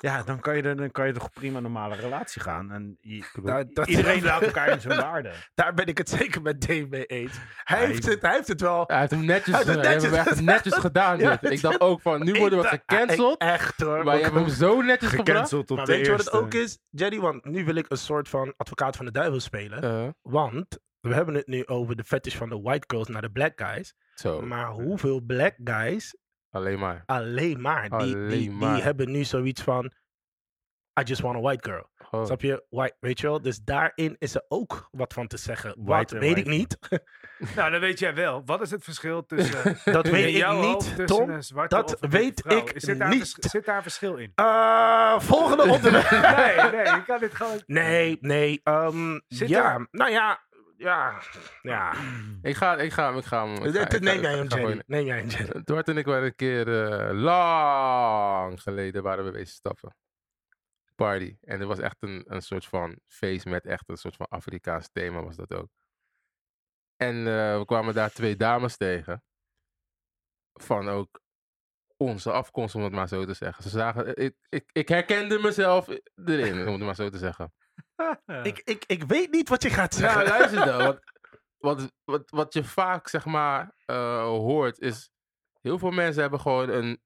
A: Ja, dan kan, je er, dan kan je toch prima een normale relatie gaan. En je- ik bedoel,
B: Nou, dat- *laughs*
A: iedereen laat elkaar in zijn waarde.
B: Daar ben ik het zeker met Dave mee eens. Hij,
A: Hij-
B: heeft, het, hij heeft het wel.
C: Hij heeft hem netjes,
B: Hij heeft het
C: hij heeft hem
B: netjes
C: echt netjes gedaan.
B: Ja,
C: dit. Ik dacht ook van, nu worden we gecanceld.
B: Echt hoor.
C: Maar dus je hebt hem zo netjes gebracht.
A: Gecanceld op
B: Maar
A: de
B: weet je wat het
A: eerste.
B: ook is, Jerry? Want nu wil ik een soort van advocaat van de duivel spelen.
C: Eh,
B: Want we hebben het nu over de fetish van de white girls naar de black guys.
C: zo,
B: Maar hoeveel black guys
C: alleen maar.
B: alleen maar die, die,
C: Alleen
B: die
C: maar.
B: hebben nu zoiets van... I just want a white girl.
C: Gewoon.
B: Snap je? White, weet je wel? Dus daarin is er ook wat van te zeggen.
A: White
B: Wat
A: en
B: weet ik
A: white.
B: niet.
D: Nou, dan weet jij wel. Wat is het verschil tussen,
B: Dus, eh,
C: *laughs*
B: Dat
D: in
B: *laughs* weet ik
D: jouw hoofd
B: niet,
D: tussen
B: Tom.
D: een zwarte
B: Dat
D: of een witte
B: weet
D: vrouw?
B: ik
D: Is- zit daar
B: niet.
D: vers- zit daar een verschil
B: *laughs*
D: in?
B: Eh, volgende onderwerp.
D: Nee, nee, je kan dit gewoon...
B: Nee, nee. ehm,
D: Zit
B: ja, nou ja. Ja, ja.
C: Ik ga, ik ga, hem, ik ga. hem- ik ga- ik ga-
B: Neem
C: ik
B: jij
C: ga
B: hem,
C: gewoon-
B: Jerry. Neem jij hem,
C: *laughs*
B: Jerry.
C: Eh, Dwart en ik waren een keer eh, lang geleden waren we bezig stappen. Party. En er was echt een, een soort van feest met echt een soort van Afrikaans thema was dat ook. En eh, we kwamen daar twee dames tegen. Van ook onze afkomst, om het maar zo te zeggen. Ze zagen, eh, ik, ik, ik herkende mezelf erin, om het maar zo te zeggen.
D: *laughs*
B: Ik, ik, ik weet niet wat je gaat
C: Nou,
B: zeggen.
C: luister dan. Wat, wat, wat, wat je vaak, zeg maar, eh, hoort is... Heel veel mensen hebben gewoon een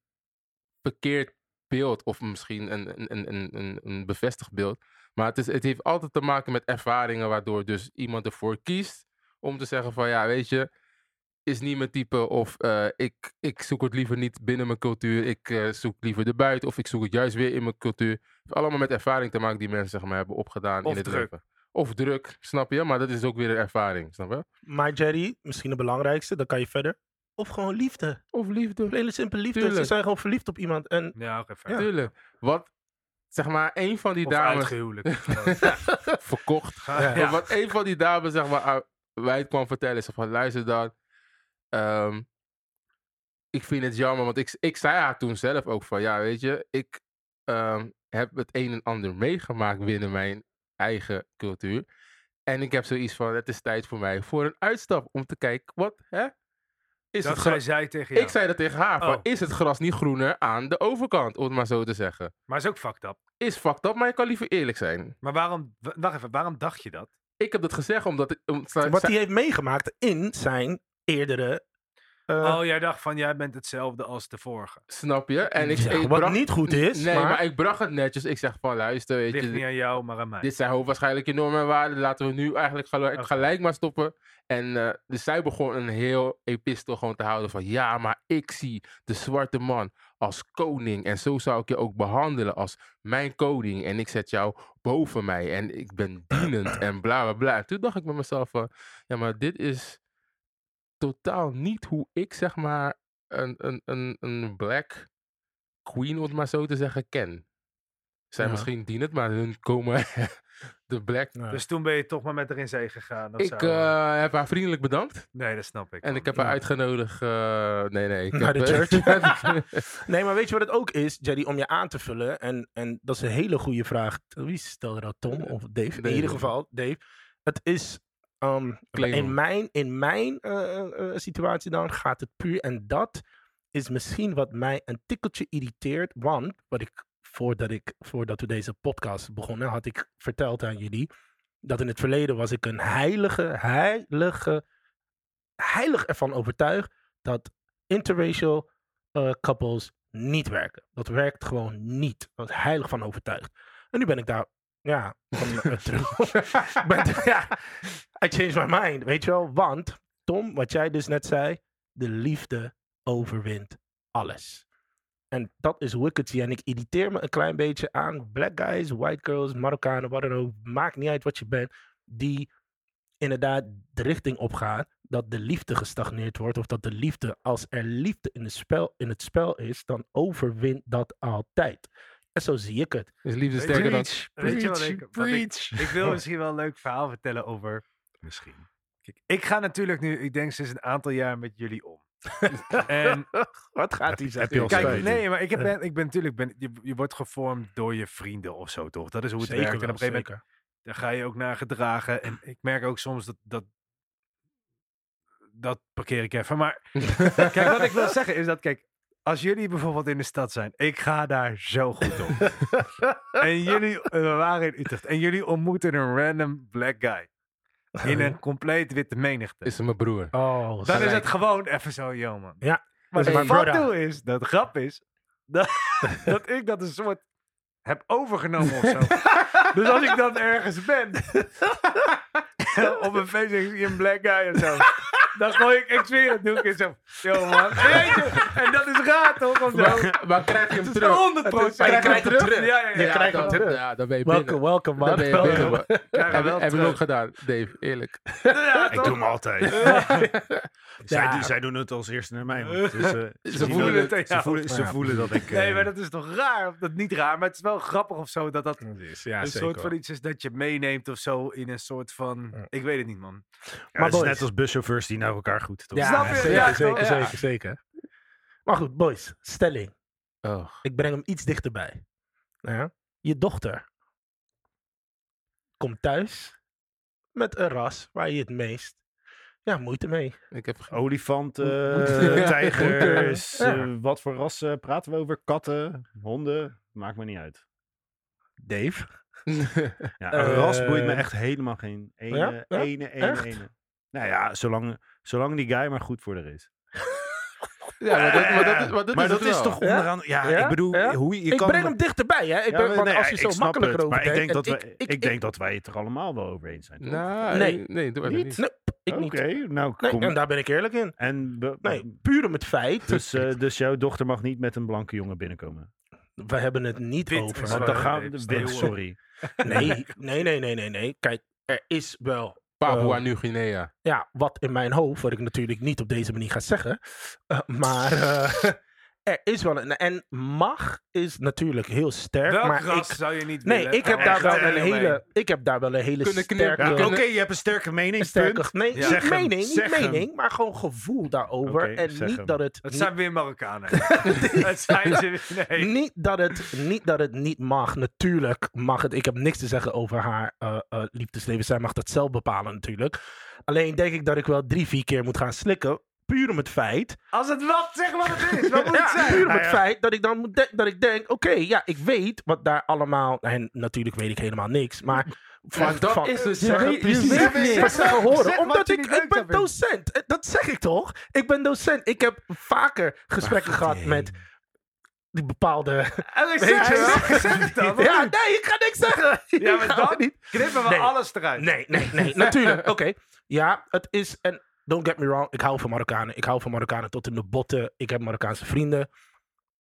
C: verkeerd beeld. Of misschien een, een- een, een, een, een bevestigd beeld. Maar het, is, het heeft altijd te maken met ervaringen... waardoor dus iemand ervoor kiest om te zeggen van... Ja, weet je, is niet mijn type. Of eh, ik, ik zoek het liever niet binnen mijn cultuur. Ik eh, zoek liever erbuiten. Of ik zoek het juist weer in mijn cultuur. Het heeft allemaal met ervaring te maken die mensen, zeg maar, hebben opgedaan
D: Of
C: in het
D: druk.
C: leven. Of druk, snap je? Maar dat is ook weer een ervaring, snap je?
B: Maar Jerry, misschien de belangrijkste, dan kan je verder. Of gewoon liefde.
C: Of liefde.
B: Hele simpele liefde.
C: Tuurlijk.
B: Ze zijn gewoon verliefd op iemand. En
D: Ja, oké, fijn.
C: Tuurlijk. Wat, zeg maar, een van Dus die
D: Of
C: dames...
D: uitgehuwelijk.
C: *laughs* verkocht.
D: Ga-
B: Ja.
D: *laughs* ja.
C: Maar wat een van die dames, zeg maar, aan mij kwam vertellen, is van, luister dan, ehm, ik vind het jammer, want ik, ik zei haar toen zelf ook van, ja, weet je, ik ehm, heb het een en ander meegemaakt binnen mijn eigen cultuur. En ik heb zoiets van, het is tijd voor mij voor een uitstap om te kijken, wat, hè? Is
D: Dat
C: het gras-
D: zei zij tegen jou.
C: Ik zei dat tegen haar,
D: Oh.
C: van, is het gras niet groener aan de overkant, om het maar zo te zeggen.
D: Maar is ook fucked up.
C: Is fucked up, maar je kan liever eerlijk zijn.
D: Maar waarom, w- wacht even, waarom dacht je dat?
C: Ik heb dat gezegd omdat... ik- om-
B: wat hij heeft meegemaakt in zijn eerdere... eh,
D: oh, jij dacht van, jij bent hetzelfde als de vorige.
C: Snap je? En ik,
B: Ja,
C: ik
B: wat
C: bracht-
B: niet goed is,
C: Nee,
B: maar-
C: maar... ik bracht het netjes. Ik zeg van, luister, weet
D: Ligt
C: je,
D: niet aan jou, maar aan mij.
C: dit zijn hoogwaarschijnlijk je normen en waarden. Laten we nu eigenlijk gelu-
D: Oké.
C: gelijk maar stoppen. En eh, dus zij begon een heel epistel gewoon te houden van... Ja, maar ik zie de zwarte man als koning. En zo zou ik je ook behandelen als mijn koning. En ik zet jou boven mij. En ik ben
D: *clears throat*
C: dienend en bla, bla, bla. En toen dacht ik met mezelf van... Ja, maar dit is totaal niet hoe ik, zeg maar, een, een, een, een black queen, om het maar zo te zeggen, ken. Zij
B: Ja.
C: misschien dienen het, maar hun komen de black.
B: nou,
D: Dus toen ben je toch maar met haar in zee gegaan. of
C: Ik
D: zo.
C: eh, heb haar vriendelijk bedankt.
D: nee, dat snap ik.
C: En
D: man.
C: ik heb haar
B: Ja.
C: uitgenodigd. eh, nee, nee. Ik
B: Naar
C: heb,
B: de
C: eh,
B: Nee, maar weet je wat het ook is, Jerry, om je aan te vullen? En, en dat is een hele goede vraag. Wie stelde dat, Tom of Dave?
C: Dave.
B: In ieder geval, Dave. Het is, ehm,
C: Claim
B: in
C: hem.
B: mijn, in mijn eh, eh, eh, situatie dan, gaat het puur. En dat is misschien wat mij een tikkeltje irriteert. Want, wat ik, voordat, ik, voordat we deze podcast begonnen, had ik verteld aan jullie... dat in het verleden was ik een heilige, heilige, heilig ervan overtuigd... dat interracial eh, couples niet werken. Dat werkt gewoon niet. Daar was ik heilig van overtuigd. En nu ben ik daar, ja, van eh, terug. *laughs* Ik ben, ja, I changed my mind, weet je wel. Want, Tom, wat jij dus net zei, de liefde overwint alles. En dat is hoe ik het zie. En ik irriteer me een klein beetje aan black guys, white girls, Marokkanen, wat dan ook. Maakt niet uit wat je bent. Die inderdaad de richting opgaan dat de liefde gestagneerd wordt. Of dat de liefde, als er liefde in het spel, in het spel is, dan overwint dat altijd. En zo zie ik het.
C: *laughs* Is liefde
D: Weet je-
C: dus sterker dan...
D: Weet je wat ik- wat ik- Ik wil misschien wel een leuk verhaal vertellen over. Misschien. Kijk, ik ga natuurlijk nu, ik denk sinds een aantal jaar met jullie
C: *laughs*
D: om. en
B: Wat gaat die
A: Heb je al
D: kijk,
A: spijt?
D: nee, maar ik,
C: *laughs*
D: heb, ben, ik ben natuurlijk, ben, je, je wordt gevormd door je vrienden of zo, toch? Dat is hoe het werkt. en op een gegeven moment daar ga je ook naar gedragen. En ik merk ook soms dat, dat,
C: *laughs*
D: dat parkeer ik even. Maar Kijk, wat ik wil zeggen is dat, kijk, als jullie bijvoorbeeld in de stad zijn, ik ga daar zo goed
C: *laughs*
D: op. en jullie, eh, we waren in Utrecht, en jullie ontmoeten een random black guy. In een compleet witte menigte.
C: *laughs* Oh Is mijn broer.
B: Oh,
D: Dan is
C: gelijk.
D: het gewoon even zo, yo man.
B: Ja,
D: Maar het
B: dat is Dus mijn
D: wat
B: brother.
D: doe is, dat grap is, dat, *laughs* dat ik dat een soort heb overgenomen of zo. dus als ik dan ergens ben, op een feest en ik zie een black guy of zo, dan gooi ik, ik zweer het, doe ik eens zo, yo man. Weet je, En dat is raar toch? Of zo.
C: Maar, maar krijg
D: *laughs*
C: je hem
D: Het is
C: terug?
D: 100
C: Maar je
D: Ik
C: krijgt hem terug.
D: Ja, ja, ja.
B: Je krijgt hem
C: dan,
B: terug.
C: Ja, dan ben je binnen.
B: welkom, welkom,
C: Dan
B: man.
C: ben je binnen.
B: Welkom.
C: man.
D: krijg hem wel
C: Heb je
D: terug.
C: ook gedaan, Dave, eerlijk.
D: Ja,
A: Ik doe
D: toch?
A: hem altijd. *laughs* zij, doen- zij doen het als eerste naar mij. man. Dus, eh,
D: Ze
A: zien
D: voelen
A: dat-
D: het. tegen
A: Ze
D: jou.
A: voelen, ze
B: Ja.
A: voelen dat ik... eh,
D: Nee, maar dat is toch raar? Of dat niet raar, maar het is wel grappig of zo dat dat
B: Dat is, Ja,
D: een
B: zeker.
D: soort van iets is dat je meeneemt of zo in een soort van.
B: Ja.
D: Ik weet het niet, man.
A: ja, het is
B: boys.
A: net als buschauffeurs die naar elkaar goed. Toch?
B: Ja,
D: Snap je?
B: zeker,
D: Ja,
B: zeker,
D: toch?
B: zeker, zeker. Maar goed, boys, stelling.
C: Oh.
B: Ik breng hem iets dichterbij. Ja? Je dochter komt thuis met een ras waar je het meest ja, moeite mee.
C: Ik heb geen...
A: Olifant,
B: *laughs*
A: eh,
C: Ja.
A: tijgers,
B: Ja.
A: eh, wat voor rassen praten we over? Katten, honden? Maakt me niet uit.
B: Dave?
A: Ja, een
B: Eh,
A: ras boeit me echt helemaal geen ene,
B: ja? Ja?
A: ene, ene,
B: Echt?
A: ene. Nou ja, zolang, zolang die guy maar goed voor haar is.
C: *laughs* ja, maar dat, maar dat, is- maar dat
A: Maar
C: is, het wel.
A: toch
B: Ja?
A: onderaan... Ja,
B: Ja?
A: ik bedoel,
B: Ja?
A: hoe je
B: ik
A: kan...
B: breng hem dichterbij, hè?
A: Ja,
B: Ik ben,
A: maar
B: want
A: nee,
B: als je
A: ik
B: zo
A: snap
B: makkelijk
A: het,
B: erover
A: maar ik
B: denkt...
A: denk, dat,
B: en
A: we, ik, denk dat wij het er allemaal wel over eens zijn. toch?
C: Nou,
B: Nee.
C: nee, nee, doe maar
A: Niet?
C: niet.
B: Nee, pff, ik
A: Oké,
B: niet.
A: nou
B: Nee,
A: kom.
B: en daar ben ik eerlijk in.
A: En we-
B: Nee, puur om het feit...
A: dus, eh, dus jouw dochter mag niet met een blanke jongen binnenkomen.
B: we hebben het niet
D: Wit
B: over...
D: is
A: Want
D: waar,
A: dan
D: hè,
A: *laughs* gaan we...
D: Dave?
A: wit,
D: Stil.
A: Sorry.
B: Nee, nee, nee, nee, nee, nee. Kijk, er is wel
C: Papua Nieuw-Guinea.
B: ja, wat in mijn hoofd, wat ik natuurlijk niet op deze manier ga zeggen. eh, maar eh, *laughs* er is wel een. En mag is natuurlijk heel sterk.
D: Welk
B: maar
D: ras
B: ik,
D: zou je niet
B: nee,
D: willen?
B: ik heb,
D: Echt,
B: daar wel
D: eh,
B: een
D: Romein.
B: hele, ik heb daar wel een hele
C: Kunnen knippen.
B: sterke.
A: Ja, Oké,
C: kunnen-
A: je hebt een sterke mening,
B: sterke
A: punt.
B: nee,
D: Ja.
B: niet
A: Zeg hem,
B: mening,
A: zeg
B: niet
A: hem.
B: mening, maar gewoon gevoel daarover.
A: Oké,
B: en
A: zeg
B: niet
A: hem.
B: dat het.
D: Het
B: niet-
D: zijn weer
B: *laughs*
D: Marokkanen. *laughs* het zijn ze weer. Nee.
B: Niet dat, het, niet dat het niet mag. Natuurlijk mag het. Ik heb niks te zeggen over haar eh, eh, liefdesleven. Zij mag dat zelf bepalen natuurlijk. Alleen denk ik dat ik wel drie, vier keer moet gaan slikken. Puur om het feit.
D: Als het wat, zeg wat het is. Wat moet
B: Ja,
D: het zijn?
B: puur om
A: Nou
B: het
A: ja.
B: feit dat ik dan moet de- dat ik denk. Oké, ja, ik weet wat daar allemaal. En natuurlijk weet ik helemaal niks. Maar van,
C: Maar dat
B: van
C: is
D: dus
C: het,
B: zeggen,
C: je
B: precies,
C: weet niks.
B: van zeggen horen.
D: Zeg wat
B: omdat
D: je
B: ik,
D: niet
B: ik
D: leuk
B: ben
D: zou vinden.
B: docent. Eh, Dat zeg ik toch? Ik ben docent. Ik heb vaker gesprekken gehad met die bepaalde
D: Alex,
B: Weet
D: zeg,
B: je wel?
D: zeg, zeg het dan.
B: *laughs* ja, nee, ik ga niks zeggen. *laughs*
D: Ja,
B: Ik
D: maar
B: ga
D: dan
B: niet.
D: knippen we
B: Nee.
D: alles eruit.
B: Nee, nee, nee, natuurlijk. *laughs* Oké. Ja, het is. En don't get me wrong, ik hou van Marokkanen. Ik hou van Marokkanen tot in de botten. Ik heb Marokkaanse vrienden.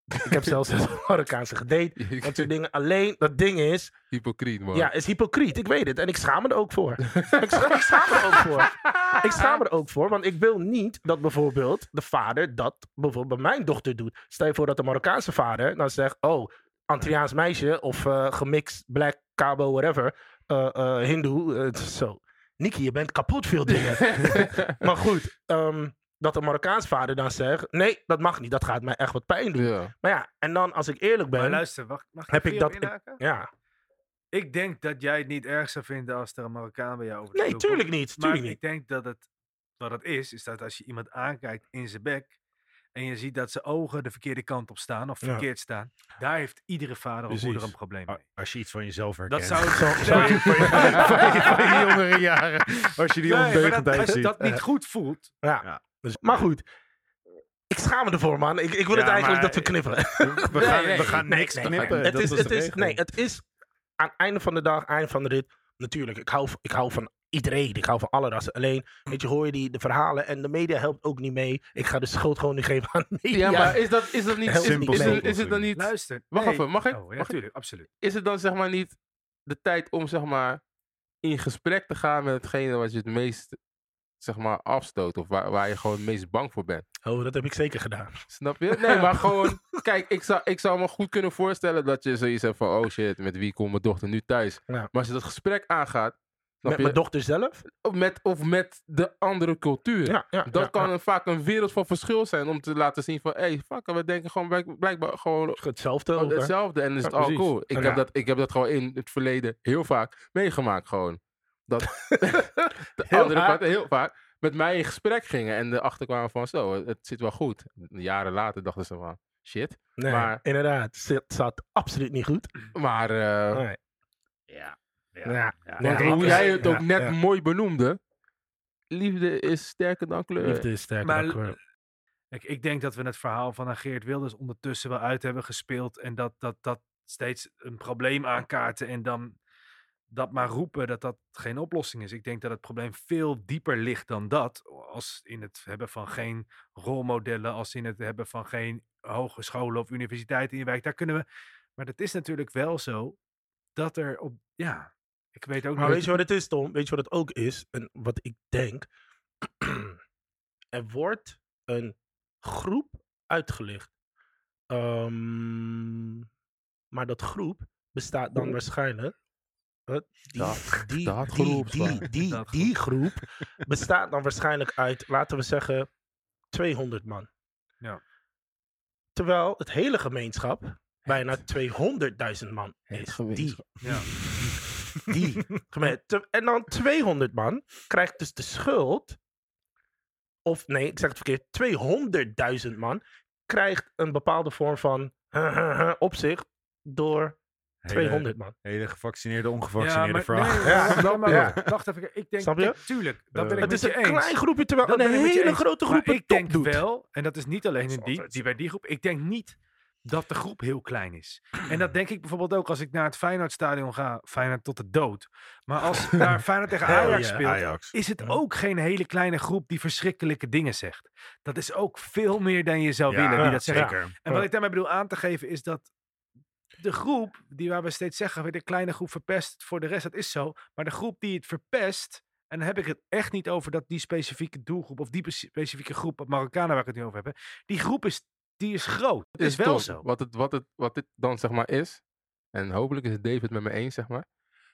B: Ik *laughs* heb zelfs een Marokkaanse gedate. Dat soort dingen. Alleen, dat ding is.
C: *laughs* Hypocriet, man.
B: Ja, is hypocriet. Ik weet het. En ik schaam me er ook
D: *laughs*
B: voor. ik, scha- ik schaam me er ook voor. Ik schaam me er ook voor. Want ik wil niet dat bijvoorbeeld de vader dat bijvoorbeeld bij mijn dochter doet. Stel je voor dat de Marokkaanse vader dan zegt... Oh, Antilliaans meisje of eh, gemixt black, cabo, whatever. eh eh, hindoe. eh, zo. Niki, je bent kapot veel
D: *laughs*
B: dingen. maar goed, ehm, dat de Marokkaanse vader dan zegt... Nee, dat mag niet. Dat gaat mij echt wat pijn doen.
C: *laughs* Ja.
B: Maar ja, en dan als ik eerlijk
D: Maar
B: ben...
D: luister, mag, mag ik
B: Heb ik
D: even op
B: dat-
D: inhaken?
B: ja.
D: Ik denk dat jij het niet erg zou vinden als er een Marokkaan bij jou over de
B: Nee,
D: vloer komt.
B: tuurlijk niet.
D: Maar
B: Tuurlijk niet.
D: ik denk dat het, wat het is, is dat als je iemand aankijkt in zijn bek en je ziet dat zijn ogen de verkeerde kant op staan of
B: Ja.
D: verkeerd staan, daar heeft iedere vader of moeder
B: Precies.
D: een probleem mee.
A: Als je iets van jezelf herkent.
D: Dat zou
B: Zo-
D: Ja,
B: zo-
D: nee,
A: *laughs* van, je, van je jongere jaren. Als je die
D: maar dat,
A: ondeugendheid
D: als je
A: ziet.
D: dat niet goed voelt,
B: Dus- maar goed, ik schaam me ervoor, man. Ik, ik wil
A: Ja,
B: het eigenlijk
A: maar-
B: dat we knippen.
A: We
C: Nee,
A: gaan,
C: nee,
A: we gaan
B: nee,
A: niks
B: nee,
A: knippen.
B: het,
A: dat
B: is,
A: was
B: het,
A: de
B: is,
A: regel.
B: nee, het is aan het einde van de dag, einde van de rit. Natuurlijk, ik hou, v- ik hou van iedereen. Ik hou van alle rassen. Alleen, weet je, hoor je die, de verhalen en de media helpt ook niet mee. Ik ga de schuld gewoon nu geven aan de media.
C: Ja, maar is dat, is dat niet...
B: Heel
C: Is,
A: simpel,
C: is, is,
A: simpel,
C: het dan niet...
D: luister.
C: Wacht
D: nee.
C: even, mag ik?
D: Oh, ja,
C: Mag ik?
D: natuurlijk, absoluut.
C: Is het dan zeg maar niet de tijd om zeg maar in gesprek te gaan met hetgene wat je het meest zeg maar afstoot of waar, waar je gewoon het meest bang voor bent?
B: Oh, dat heb ik zeker gedaan.
C: Snap je? Nee, maar
B: *laughs*
C: gewoon, kijk, ik zou, ik zou me goed kunnen voorstellen dat je zoiets hebt van, oh shit, met wie komt mijn dochter nu thuis?
B: Ja.
C: Maar als je dat gesprek aangaat, snap
B: Met mijn
C: je?
B: dochter zelf?
C: Of met, of met de andere cultuur.
B: Ja, ja.
C: Dat
B: ja,
C: kan
B: ja.
C: een- vaak een wereld van verschil zijn om te laten zien van, hé, hey, fuck, we denken gewoon blijk- blijkbaar gewoon
B: Hetzelfde
C: gewoon
B: over.
C: Oh, hetzelfde en is
B: Ja,
C: het al
B: precies. Oh,
C: cool. Ik,
B: Ja.
C: heb dat, ik heb dat gewoon in het verleden heel vaak meegemaakt gewoon.
B: *laughs*
C: Dat de
B: Heel
C: andere
B: vaak?
C: partij heel vaak met mij in gesprek gingen en erachter kwamen van zo, het zit wel goed. Jaren later dachten ze van, shit.
B: Nee,
C: Maar-
B: inderdaad. Het staat absoluut niet goed.
C: Maar eh,
B: Nee.
A: Ja.
B: Ja.
A: Ja.
C: want
B: Oh, ja,
C: hoe
B: ja,
C: jij het ook
B: ja,
C: net
B: ja.
C: mooi benoemde, liefde is sterker dan kleur.
B: Liefde is sterker
D: Maar-
B: dan kleur.
D: Ik, ik denk dat we het verhaal van aan Geert Wilders ondertussen wel uit hebben gespeeld. En dat dat, dat steeds een probleem aankaarten en dan dat maar roepen dat dat geen oplossing is. Ik denk dat het probleem veel dieper ligt dan dat. Als in het hebben van geen rolmodellen, als in het hebben van geen hogescholen of universiteiten in je wijk. Daar kunnen we. Maar dat is natuurlijk wel zo dat er op. Ja, ik weet ook
B: Maar
D: niet-
B: weet je wat het is, Tom? Weet je wat het ook is? En wat ik denk. *clears throat* er wordt een groep uitgelicht. Ehm, maar dat groep bestaat dan waarschijnlijk. Huh? Die,
C: Dat-
B: die,
C: dat
B: die,
C: groep,
B: die,
C: zwaar.
B: die,
D: Dat
B: die groep bestaat dan waarschijnlijk uit, laten we zeggen, 200 man.
D: Ja.
B: Terwijl het hele gemeenschap bijna 200.000 man
C: Het
B: is. Die
C: gemeenschap.
D: Ja.
B: die. geme- te- En dan 200 man krijgt dus de schuld. Of nee, ik zeg het verkeerd. 200.000 man krijgt een bepaalde vorm van op zich door 200 man.
A: Hele, hele gevaccineerde, ongevaccineerde verhaal.
D: nee,
B: Ja,
D: maar-
B: snap
D: maar
B: je?
D: wacht- Wacht even, ik denk,
B: Snap je?
D: kijk, tuurlijk, dat ben ik
A: Eh,
B: Het
D: met
B: is
D: je
B: een
D: eens.
B: klein groepje, terwijl
D: Dat
B: een
D: ben ik met Oh, je
B: hele
D: eens.
B: grote
D: Maar
B: groep het
D: ik denk
B: top doet.
D: wel, en dat is niet alleen
B: Dat
D: in
B: is
D: die,
B: altijd
D: die
B: zo.
D: bij die groep, ik denk niet dat de groep heel klein is. En dat denk ik bijvoorbeeld ook als ik naar het Feyenoordstadion ga, Feyenoord tot de dood. Maar als
B: *laughs*
D: daar Feyenoord tegen
B: Hell
D: Ajax
B: yeah.
D: speelt,
A: Ajax.
D: is het
B: Ja.
D: ook geen hele kleine groep die verschrikkelijke dingen zegt. Dat is ook veel meer dan je zou willen die
B: ja,
D: dat zegt.
B: zeggen.
A: zeker.
D: En wat ik daarmee bedoel aan te geven is dat de groep die waar we steeds zeggen, de kleine groep verpest het voor de rest, dat is zo. Maar de groep die het verpest, en dan heb ik het echt niet over dat die specifieke doelgroep of die pe- specifieke groep Marokkanen waar ik het nu over heb, hè, die groep is, die is groot. Dat
C: Het
D: is, wel
C: toch
D: zo.
C: Wat, het, wat, het, wat dit dan zeg maar is, en hopelijk is David met me eens, zeg maar,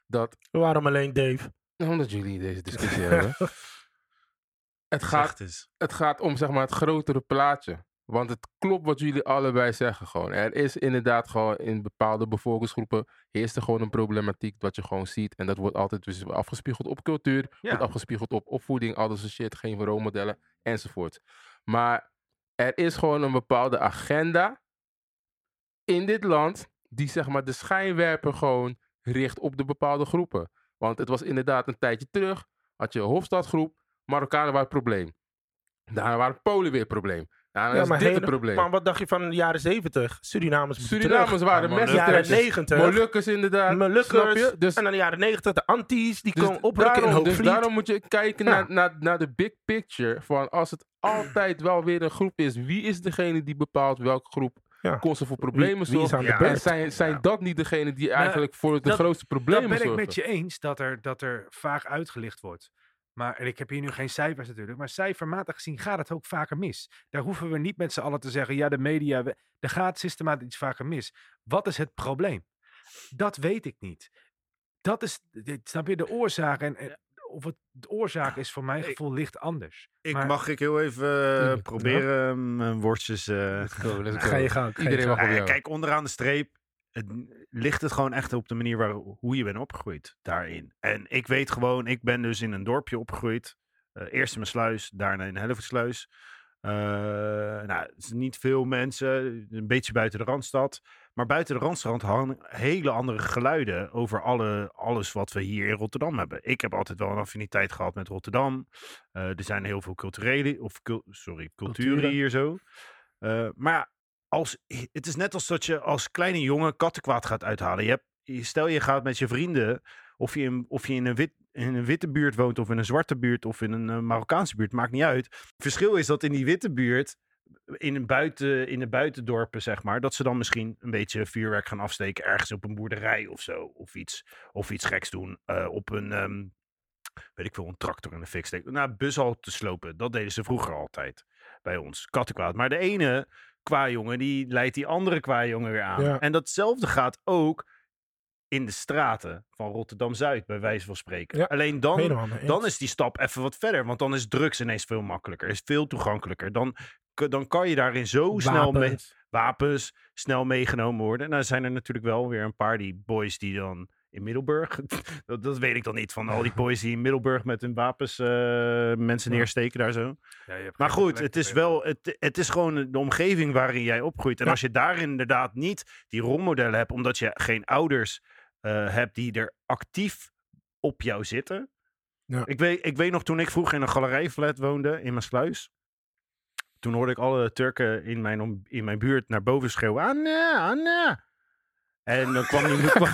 C: dat,
B: Waarom alleen Dave?
C: omdat jullie deze
B: *laughs*
C: discussie hebben, het gaat,
A: Echt is.
C: het gaat om zeg maar het grotere plaatje. Want het klopt wat jullie allebei zeggen gewoon. Er is inderdaad gewoon in bepaalde bevolkingsgroepen heerst er gewoon een problematiek wat je gewoon ziet. En dat wordt altijd dus afgespiegeld op cultuur, wordt afgespiegeld op opvoeding, al dat soort shit, geen rolmodellen enzovoort. Maar er is gewoon een bepaalde agenda in dit land die zeg maar de schijnwerper gewoon richt op de bepaalde groepen. Want het was inderdaad een tijdje terug, had je een Hofstadgroep, Marokkanen waren het probleem. Daarna waren Polen weer het probleem. Daarna
B: Ja,
C: is
B: maar
C: dit het
B: hele-
C: probleem.
B: Maar wat dacht je van de jaren 70? Surinamers
C: Surinamers waren
A: Ja,
B: terug. jaren
C: messentrekkers.
B: 90.
C: Molukkers inderdaad. Snap
B: Molukkers.
C: je? Dus
B: En dan de jaren 90, de antis, die
C: Dus
B: komen oprukken
C: daarom,
B: in
C: dus
B: Hoogvliet.
C: daarom moet je kijken
B: Ja.
C: naar, naar, naar de big picture. Van als het altijd wel weer een groep is, wie is degene die bepaalt welke groep
B: Ja.
C: constant voor
B: Wie-
C: problemen
B: wie is
C: zorgt?
B: aan de
A: Ja.
B: beurt?
C: En zijn, zijn dat niet degene die
D: Nou,
C: eigenlijk voor de
D: dat-
C: grootste
D: Dat
C: problemen
D: ben ik
C: zorgen?
D: met je eens dat er, dat er vaak uitgelicht wordt. Maar en ik heb hier nu geen cijfers natuurlijk. Maar cijfermatig gezien gaat het ook vaker mis. Daar hoeven we niet met z'n allen te zeggen. Ja, de media. we- Er gaat systematisch iets vaker mis. Wat is het probleem? Dat weet ik niet. Dat is, dit, snap je, de oorzaak. En, en of het de oorzaak is voor mijn
A: Eh, Ik-
D: gevoel licht anders.
A: Ik
D: Maar-
A: mag ik heel even eh,
C: Tuurlijk.
A: proberen ehm, mijn worstjes. eh,
C: Let's go, let's go.
B: Ga je gang. ga je
C: Iedereen
B: gang.
C: mag-
A: Nou ja,
C: jou.
A: kijk, onderaan de streep het, ligt het gewoon echt op de manier waar, hoe je bent opgegroeid daarin. En ik weet gewoon, ik ben dus in een dorpje opgegroeid. Eh, eerst in mijn sluis, daarna in Hellevoetsluis. Eh nou, het is niet veel mensen, een beetje buiten de Randstad. Maar buiten de Randstad hangen hele andere geluiden over alle, alles wat we hier in Rotterdam hebben. Ik heb altijd wel een affiniteit gehad met Rotterdam. Eh, er zijn heel veel culturele, of cul- sorry, culturen,
B: Culturen.
A: hier zo. Eh, maar ja, als, het is net als dat je als kleine jongen kattenkwaad gaat uithalen. Je hebt, je- stel je gaat met je vrienden, of je, in, of je in, een wit, in een witte buurt woont, of in een zwarte buurt, of in een eh, Marokkaanse buurt, maakt niet uit. Het verschil is dat in die witte buurt, in, een buiten, in de buitendorpen zeg maar, dat ze dan misschien een beetje vuurwerk gaan afsteken ergens op een boerderij of zo. Of iets, of iets geks doen eh, op een, ehm, weet ik veel, een tractor in de fik steken. Nou, bus al te slopen, dat deden ze vroeger altijd bij ons, kattenkwaad. Maar de ene kwajongen, die leidt die andere kwajongen weer aan.
B: Ja.
A: En datzelfde gaat ook in de straten van Rotterdam-Zuid, bij wijze van spreken.
B: Ja,
A: Alleen dan
B: Helemaal mee eens.
A: dan is die stap even wat verder. Want dan is drugs ineens veel makkelijker. Is veel toegankelijker. Dan, k- dan kan je daarin zo snel mee,
B: Wapens.
A: wapens snel meegenomen worden. Nou zijn er natuurlijk wel weer een paar die boys die dan in Middelburg. *laughs* dat, dat weet ik dan niet. Van al die boys die in Middelburg met hun wapens eh, mensen
D: Ja.
A: neersteken daar zo.
D: Ja, je hebt
A: Maar
D: geen
A: goed,
D: plek
A: het
D: te
A: is
D: spelen.
A: wel, het, het is gewoon de omgeving waarin jij opgroeit. En
B: Ja.
A: als je daar inderdaad niet die rolmodellen hebt, omdat je geen ouders eh, hebt die er actief op jou zitten.
B: Ja.
A: Ik, weet, ik weet nog, toen ik vroeger in een galerijflat woonde in Maasluis, toen hoorde ik alle Turken in mijn, om- in mijn buurt naar boven schreeuwen, Anna, Anna. En dan kwam die... *laughs* kwam-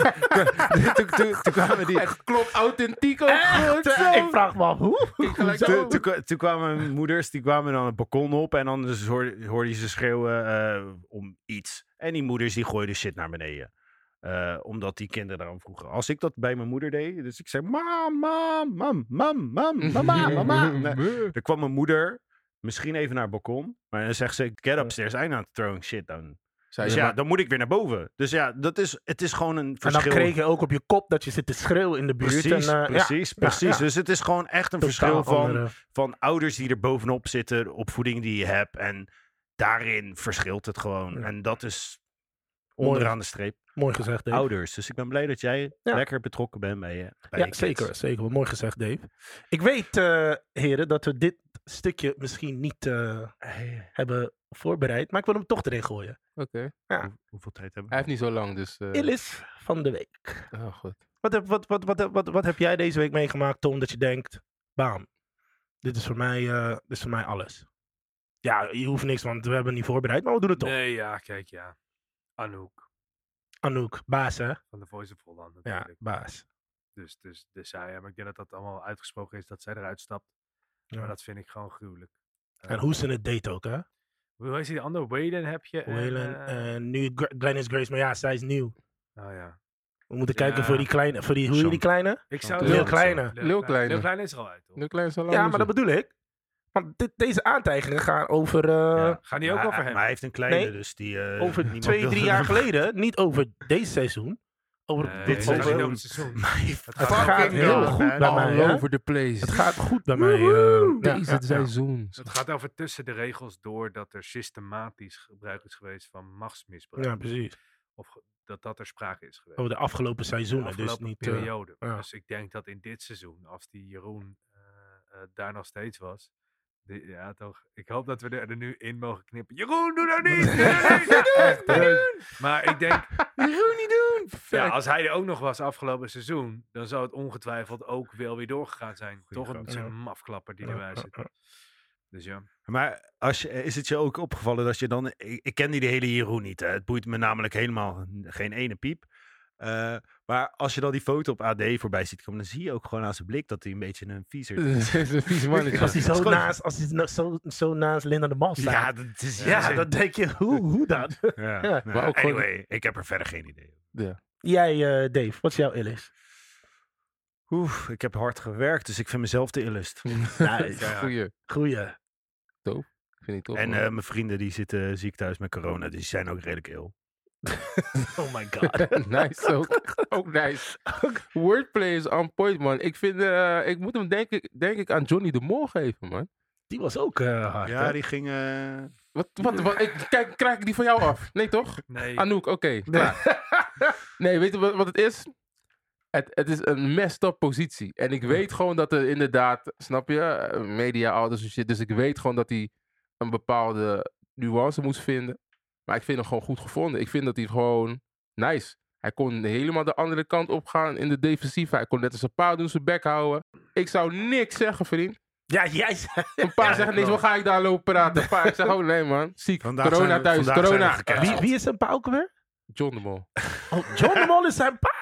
A: toen, toen, toen kwamen die...
C: Het klopt authentiek ook goed zo.
B: Ik vraag me af hoe.
C: Kijk gelijk
A: Toen-
C: zo.
A: Toen, kwa- toen kwamen mijn moeders, die kwamen dan het balkon op en dan dus hoorde, hoorde je ze schreeuwen eh, om iets. En die moeders die gooiden shit naar beneden. Eh, omdat die kinderen daarom vroegen. Als ik dat bij mijn moeder deed, dus ik zei mam, mam, mam, mam,
B: *laughs*
A: mam, mama, mama. Nee, er kwam mijn moeder misschien even naar het balkon, maar dan zegt ze get upstairs, I'm not throwing shit down.
C: Zei
A: Dus
C: je
A: ja,
C: maar-
A: dan moet ik weer naar boven. Dus ja, dat is, het is gewoon een
B: En dan
A: verschil.
B: kreeg je ook op je kop dat je zit te schreeuwen in de buurt.
A: Precies,
B: en, eh, ja,
A: precies, precies.
B: ja.
A: Dus het is gewoon echt een
B: totaal
A: verschil van
B: andere-
A: van ouders die er bovenop zitten, de opvoeding die je hebt. En daarin verschilt het gewoon.
B: Ja.
A: En dat is
B: Mooi.
A: onderaan de streep
B: Mooi gezegd, Dave.
A: ouders. Dus ik ben blij dat jij
B: Ja.
A: lekker betrokken bent bij je. Bij je
B: Ja,
A: kids.
B: zeker, zeker. Mooi gezegd, Dave. Ik weet, eh, heren, dat we dit stukje misschien niet eh,
A: Hey,
B: hebben voorbereid. Maar ik wil hem toch erin gooien.
C: Oké.
A: hoe- hoeveel tijd hebben
C: Hij
A: we?
C: heeft niet zo lang, dus... eh,
B: Illis van de week.
C: oh, goed.
B: Wat heb, wat, wat, wat, wat, wat heb jij deze week meegemaakt, Tom, dat je denkt, bam, dit is voor mij, eh, dit is voor mij alles. Ja, je hoeft niks, want we hebben het niet voorbereid, maar we doen het toch.
D: Nee, ja, kijk, ja. Anouk
B: Anouk, baas hè?
D: van de Voice of Holland
B: Ja,
D: natuurlijk.
B: baas.
D: Dus, dus, dus zij, ja, maar ik denk dat dat allemaal uitgesproken is dat zij eruit stapt.
B: Ja.
D: Maar dat vind ik gewoon gruwelijk. Eh,
B: En hoe ze het deed ook, hè?
D: Hoe heet die andere? Waylon heb je. en,
B: Waylon
D: eh,
B: en nu Gr- Glennis Grace, maar ja, zij is nieuw.
D: nou ja.
B: We moeten kijken voor
D: Ja.
B: die kleine, voor die, hoe heet die
A: Zo'n-
B: kleine?
D: Ik
C: zou-
D: zou
C: Lil
B: Kleine.
C: Lil Kleine.
D: Lil Kleine is er al uit, toch?
C: Nu klein zo lang.
B: Ja,
C: is
B: maar dat
C: het.
B: bedoel ik. Want dit, deze aantijgingen gaan over, eh,
A: Ja.
D: Gaan die ook
A: Maar-
D: over hem?
A: Maar hij heeft een kleine,
B: Nee.
A: dus die... eh,
B: over
A: *laughs* niemand
B: twee,
A: wil-
B: drie jaar geleden. Niet over deze seizoen. Over
D: Nee,
A: dit
B: dit
D: het gaat
A: seizoen.
D: niet
B: seizoen.
D: over het seizoen.
A: Maar hij-
D: gaat
A: fucking
B: gaat heel
A: wel,
B: goed
A: man.
B: bij mij.
C: All
B: hè?
C: over the place.
B: Het gaat goed bij mij. eh, ja,
C: Deze
B: ja, ja.
C: seizoen.
D: Het gaat over tussen de regels door dat er systematisch gebruik is geweest van machtsmisbruik.
B: Ja, precies. Oh,
D: Of ge- dat dat er sprake is geweest.
B: Over de afgelopen
D: de
B: seizoenen. Dus
D: afgelopen
B: niet. eh,
D: periode.
B: ja.
D: Dus ik denk dat in dit seizoen, als die Jeroen eh, eh, daar nog steeds was. die- ja, toch. Ik hoop dat we er, er nu in mogen knippen. Jeroen, doe dat niet! Doe dat niet!
B: *laughs*
C: Echt, hè?
D: Maar ik denk,
C: Jeroen niet doen.
D: ja,
C: Perfect.
D: als hij er ook nog was afgelopen seizoen, dan zou het ongetwijfeld ook wel weer doorgegaan zijn. toch
A: grap.
D: een
B: Ja.
D: zo'n mafklapper die
B: Ja,
D: erbij
B: ja,
D: zit.
B: ja.
D: Dus ja.
A: Maar als je, is het je ook opgevallen dat je dan... Ik, ik ken die de hele Jeroen niet. Hè. Het boeit me namelijk helemaal geen ene piep. Eh, maar als je dan die foto op AD voorbij ziet komen... dan zie je ook gewoon aan zijn blik dat hij een beetje een *laughs*
C: *laughs*
A: viezer
C: Het is een vies mannetje.
B: Als hij zo naast, als hij nou zo, zo naast Linda de Mal
A: Ja,
B: staat.
A: dat is
B: Ja, dan denk je, hoe, hoe dan?
A: *laughs* Ja.
B: Ja.
A: Nou,
C: Maar ook gewoon-
A: anyway, ik heb er verder geen idee.
B: Jij, eh, Dave, wat is jouw illis?
A: Oef, ik heb hard gewerkt, dus ik vind mezelf de illust.
C: *laughs*
B: Nice.
D: Ja, ja.
C: Goeie.
B: Goeie.
C: Vind ik toch.
A: *laughs* En eh, mijn vrienden die zitten ziek thuis met corona, dus die zijn ook redelijk ill.
B: Oh my god.
C: *laughs* nice ook. Ook nice. Wordplay is on point, man. Ik vind, eh, ik moet hem denk ik, denk ik aan Johnny de Mol geven, man.
B: Die was ook eh, hard. hè?
A: Ja, die ging... eh,
C: Wat, wat, wat, ik, kijk, krijg ik die van jou af? Nee, toch?
D: Nee,
C: Anouk,
A: *laughs*
C: oké. klaar. Nee. weet je wat, wat het is? Het, het is een messed up positie. En ik weet gewoon dat er inderdaad, snap je, eh, media, al dat soort shit. Dus ik weet gewoon dat hij een bepaalde nuance moest vinden. Maar ik vind hem gewoon goed gevonden. Ik vind dat hij gewoon nice. Hij kon helemaal de andere kant op gaan in de defensieve. Hij kon net als een paar doen, zijn bek houden. Ik zou niks zeggen, vriend.
B: Ja, jij zei.
A: *laughs*
C: Een paar zeggen niks, wat ga ik daar lopen praten? Een paar zeggen, oh nee man, ziek,
A: Vandaag
C: corona
A: zijn we-
C: thuis,
A: vandaag zijn we
C: corona.
A: gecanceld.
B: Wie, wie is zijn pa ook weer?
C: John de Mol.
B: Oh, *laughs* John de Mol is zijn pa.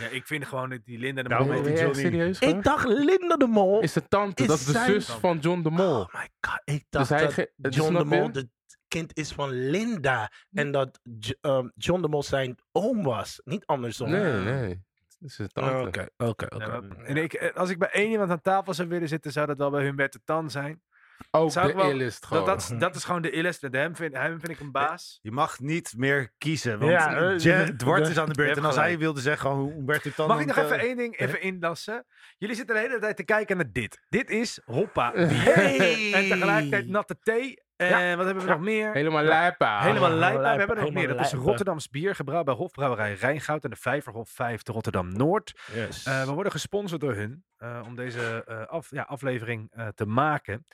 D: ja, ik vind gewoon dat die Linda de
B: Nou,
A: Daarom
D: Mol-
A: heet die
C: Ben je echt
A: Johnny.
C: serieus? gewoon?
B: Ik dacht Linda de Mol.
C: is zijn tante,
B: is
C: dat is de
B: zijn
C: zus
D: tante.
C: van John de Mol.
B: Oh my god, ik dacht
C: dus hij
B: dat
C: ge- dus
B: John de
C: snap je?
B: Mol het kind is van Linda.
C: Hm.
B: En dat J- ehm, John de Mol zijn oom was. Niet andersom.
C: Nee, nee. Het is zijn
B: Oh,
C: tante.
B: Oké, oké,
D: Ja,
B: oké.
D: maar- en ik, eh, als ik bij één iemand aan tafel zou willen zitten, zou dat wel bij Humbert de Tan zijn.
C: Ook
D: Zou ik
C: de
D: wel-
C: illest gewoon.
D: Dat, dat, is- dat is gewoon de illest. Met hem vind, hem vind ik een baas.
A: Je mag niet meer kiezen, want
B: Ja, eh,
A: Ja- *laughs*
B: de-
A: Dwart
B: de-
A: is aan de
D: Je
A: beurt.
D: hebt
A: En als
D: gelijk.
A: hij wilde zeggen, "Oh, hoe Humberto Tan...
D: Mag ik nog
A: want,
D: even
A: eh,
D: één ding even inlassen? Jullie zitten de hele tijd te kijken naar dit. Dit is hoppa. bier
B: Hey!
D: En tegelijkertijd natte thee En wat hebben we nog meer? Nou,
C: Helemaal lijpa.
D: Helemaal
B: Ah,
D: lijpa. We
B: lijpa,
D: hebben er nog meer.
B: helemaal
D: Dat is een
B: lijpa.
D: Rotterdams bier, gebrouwen bij Hofbrouwerij Rijngoud en de Vijverhof 5 te Rotterdam-Noord.
B: Yes.
D: Eh, we worden gesponsord door hun eh, om deze eh, af, ja, aflevering eh, te maken.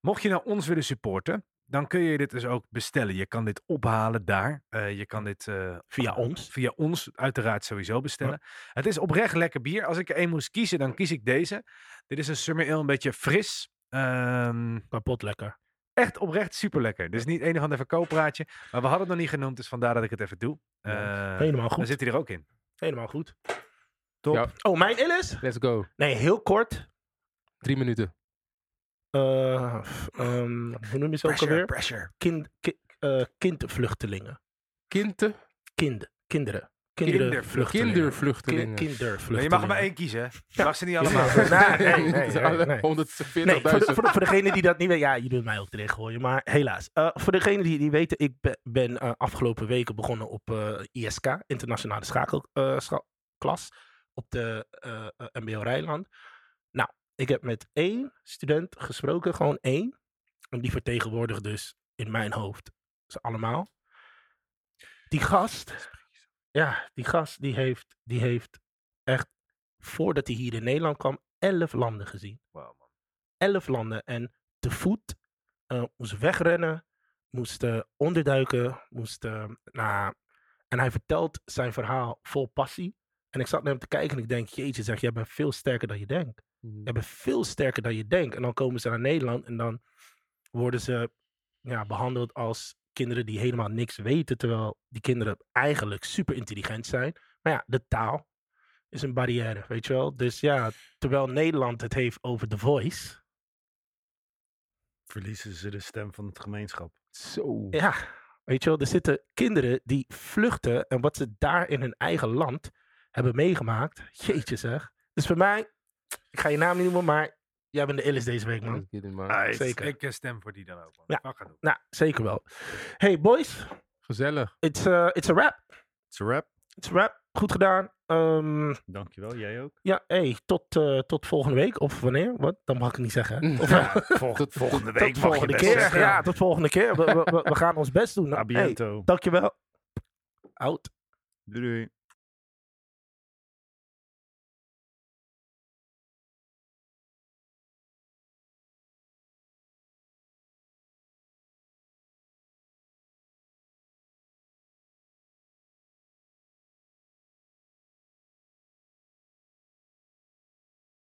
D: Mocht je nou ons willen supporten, dan kun je dit dus ook bestellen. Je kan dit ophalen daar. Eh, je kan dit eh,
B: Via ons.
D: via ons uiteraard sowieso bestellen. Het is oprecht lekker bier. Als ik er één moest kiezen, dan kies ik deze. Dit is een Summer Ale, een beetje fris. Ehm,
B: Kapot lekker.
D: echt oprecht super lekker. Dit is niet een of ander verkooppraatje. Maar we hadden het nog niet genoemd, dus vandaar dat ik het even doe. Eh,
B: Helemaal
D: dan
B: goed.
D: zit hij er ook in.
B: Helemaal goed.
C: Top.
B: Dus- Oh, mijn Illis?
C: Let's go.
B: Nee, heel kort.
C: Drie minuten.
B: Eh, f- ehm, hoe noem je ze ook alweer?
D: pressure.
B: Kind, ki- eh, kindvluchtelingen.
C: Kinten.
B: Kind, kinderen.
D: Kindervluchtelingen.
C: Kindervluchtelingen.
B: Ki- kindervluchtelingen.
D: Je mag er maar één kiezen. hè? Je mag ze niet allemaal.
B: *laughs* Nee,
C: *laughs*
B: nee, nee,
C: Niet
B: nee,
C: alle
B: nee.
C: 140.000.
B: Nee, voor, de, voor, de- voor degene die dat niet weet, ja, je doet mij ook erin gooien, maar helaas. Eh, voor degene die, die weten, ik be- ben eh, afgelopen weken begonnen op eh, ISK, Internationale Schakelklas, op de eh, eh, MBO Rijnland. Nou, ik heb met één student gesproken, gewoon één. En die vertegenwoordigt dus in mijn hoofd ze allemaal. Die gast, ja, die gast die heeft, die heeft echt, voordat hij hier in Nederland kwam, elf landen gezien elf landen. En te voet eh, moest wegrennen, moest eh, onderduiken, moest... eh, nou, en hij vertelt zijn verhaal vol passie. En ik zat naar hem te kijken en ik denk, jeetje zeg, jij bent veel sterker dan je denkt. Jij bent veel sterker dan je denkt. En dan komen ze naar Nederland en dan worden ze ja, behandeld als kinderen die helemaal niks weten. Terwijl die kinderen eigenlijk super intelligent zijn. Maar ja, de taal is een barrière, weet je wel. Dus ja, terwijl Nederland het heeft over The Voice...
A: Verliezen ze de stem van het gemeenschap.
C: Zo.
B: Ja, weet je wel, er zitten kinderen die vluchten en wat ze daar in hun eigen land hebben meegemaakt. Jeetje zeg. Dus voor mij, ik ga je naam niet noemen, maar jij bent de illis deze week,
A: Mm.
B: man.
C: Kidding, man.
A: Ah,
B: Zeker.
D: Ik eh, stem voor die dan ook. Man.
B: Ja.
D: Fuck it.
B: Nou, zeker wel. Hey boys,
C: Gezellig.
B: it's, eh it's a wrap.
A: It's a wrap.
B: It's a wrap. Goed gedaan. Ehm,
A: Dankjewel. Jij *laughs* ook.
B: ja, hey, tot, eh, tot volgende week. Of wanneer? Wat? Dan mag ik niet zeggen. hè? Of,
C: Ja,
A: volgende,
C: tot-
A: volgende week mag
B: tot
A: je
B: volgende
A: best
B: keer.
A: zeggen.
B: Ja, tot volgende
A: *laughs*
B: keer. We, we, we- we gaan ons best doen.
A: A
B: Nou, hey,
A: biento.
B: dankjewel. Out.
A: Doei doei.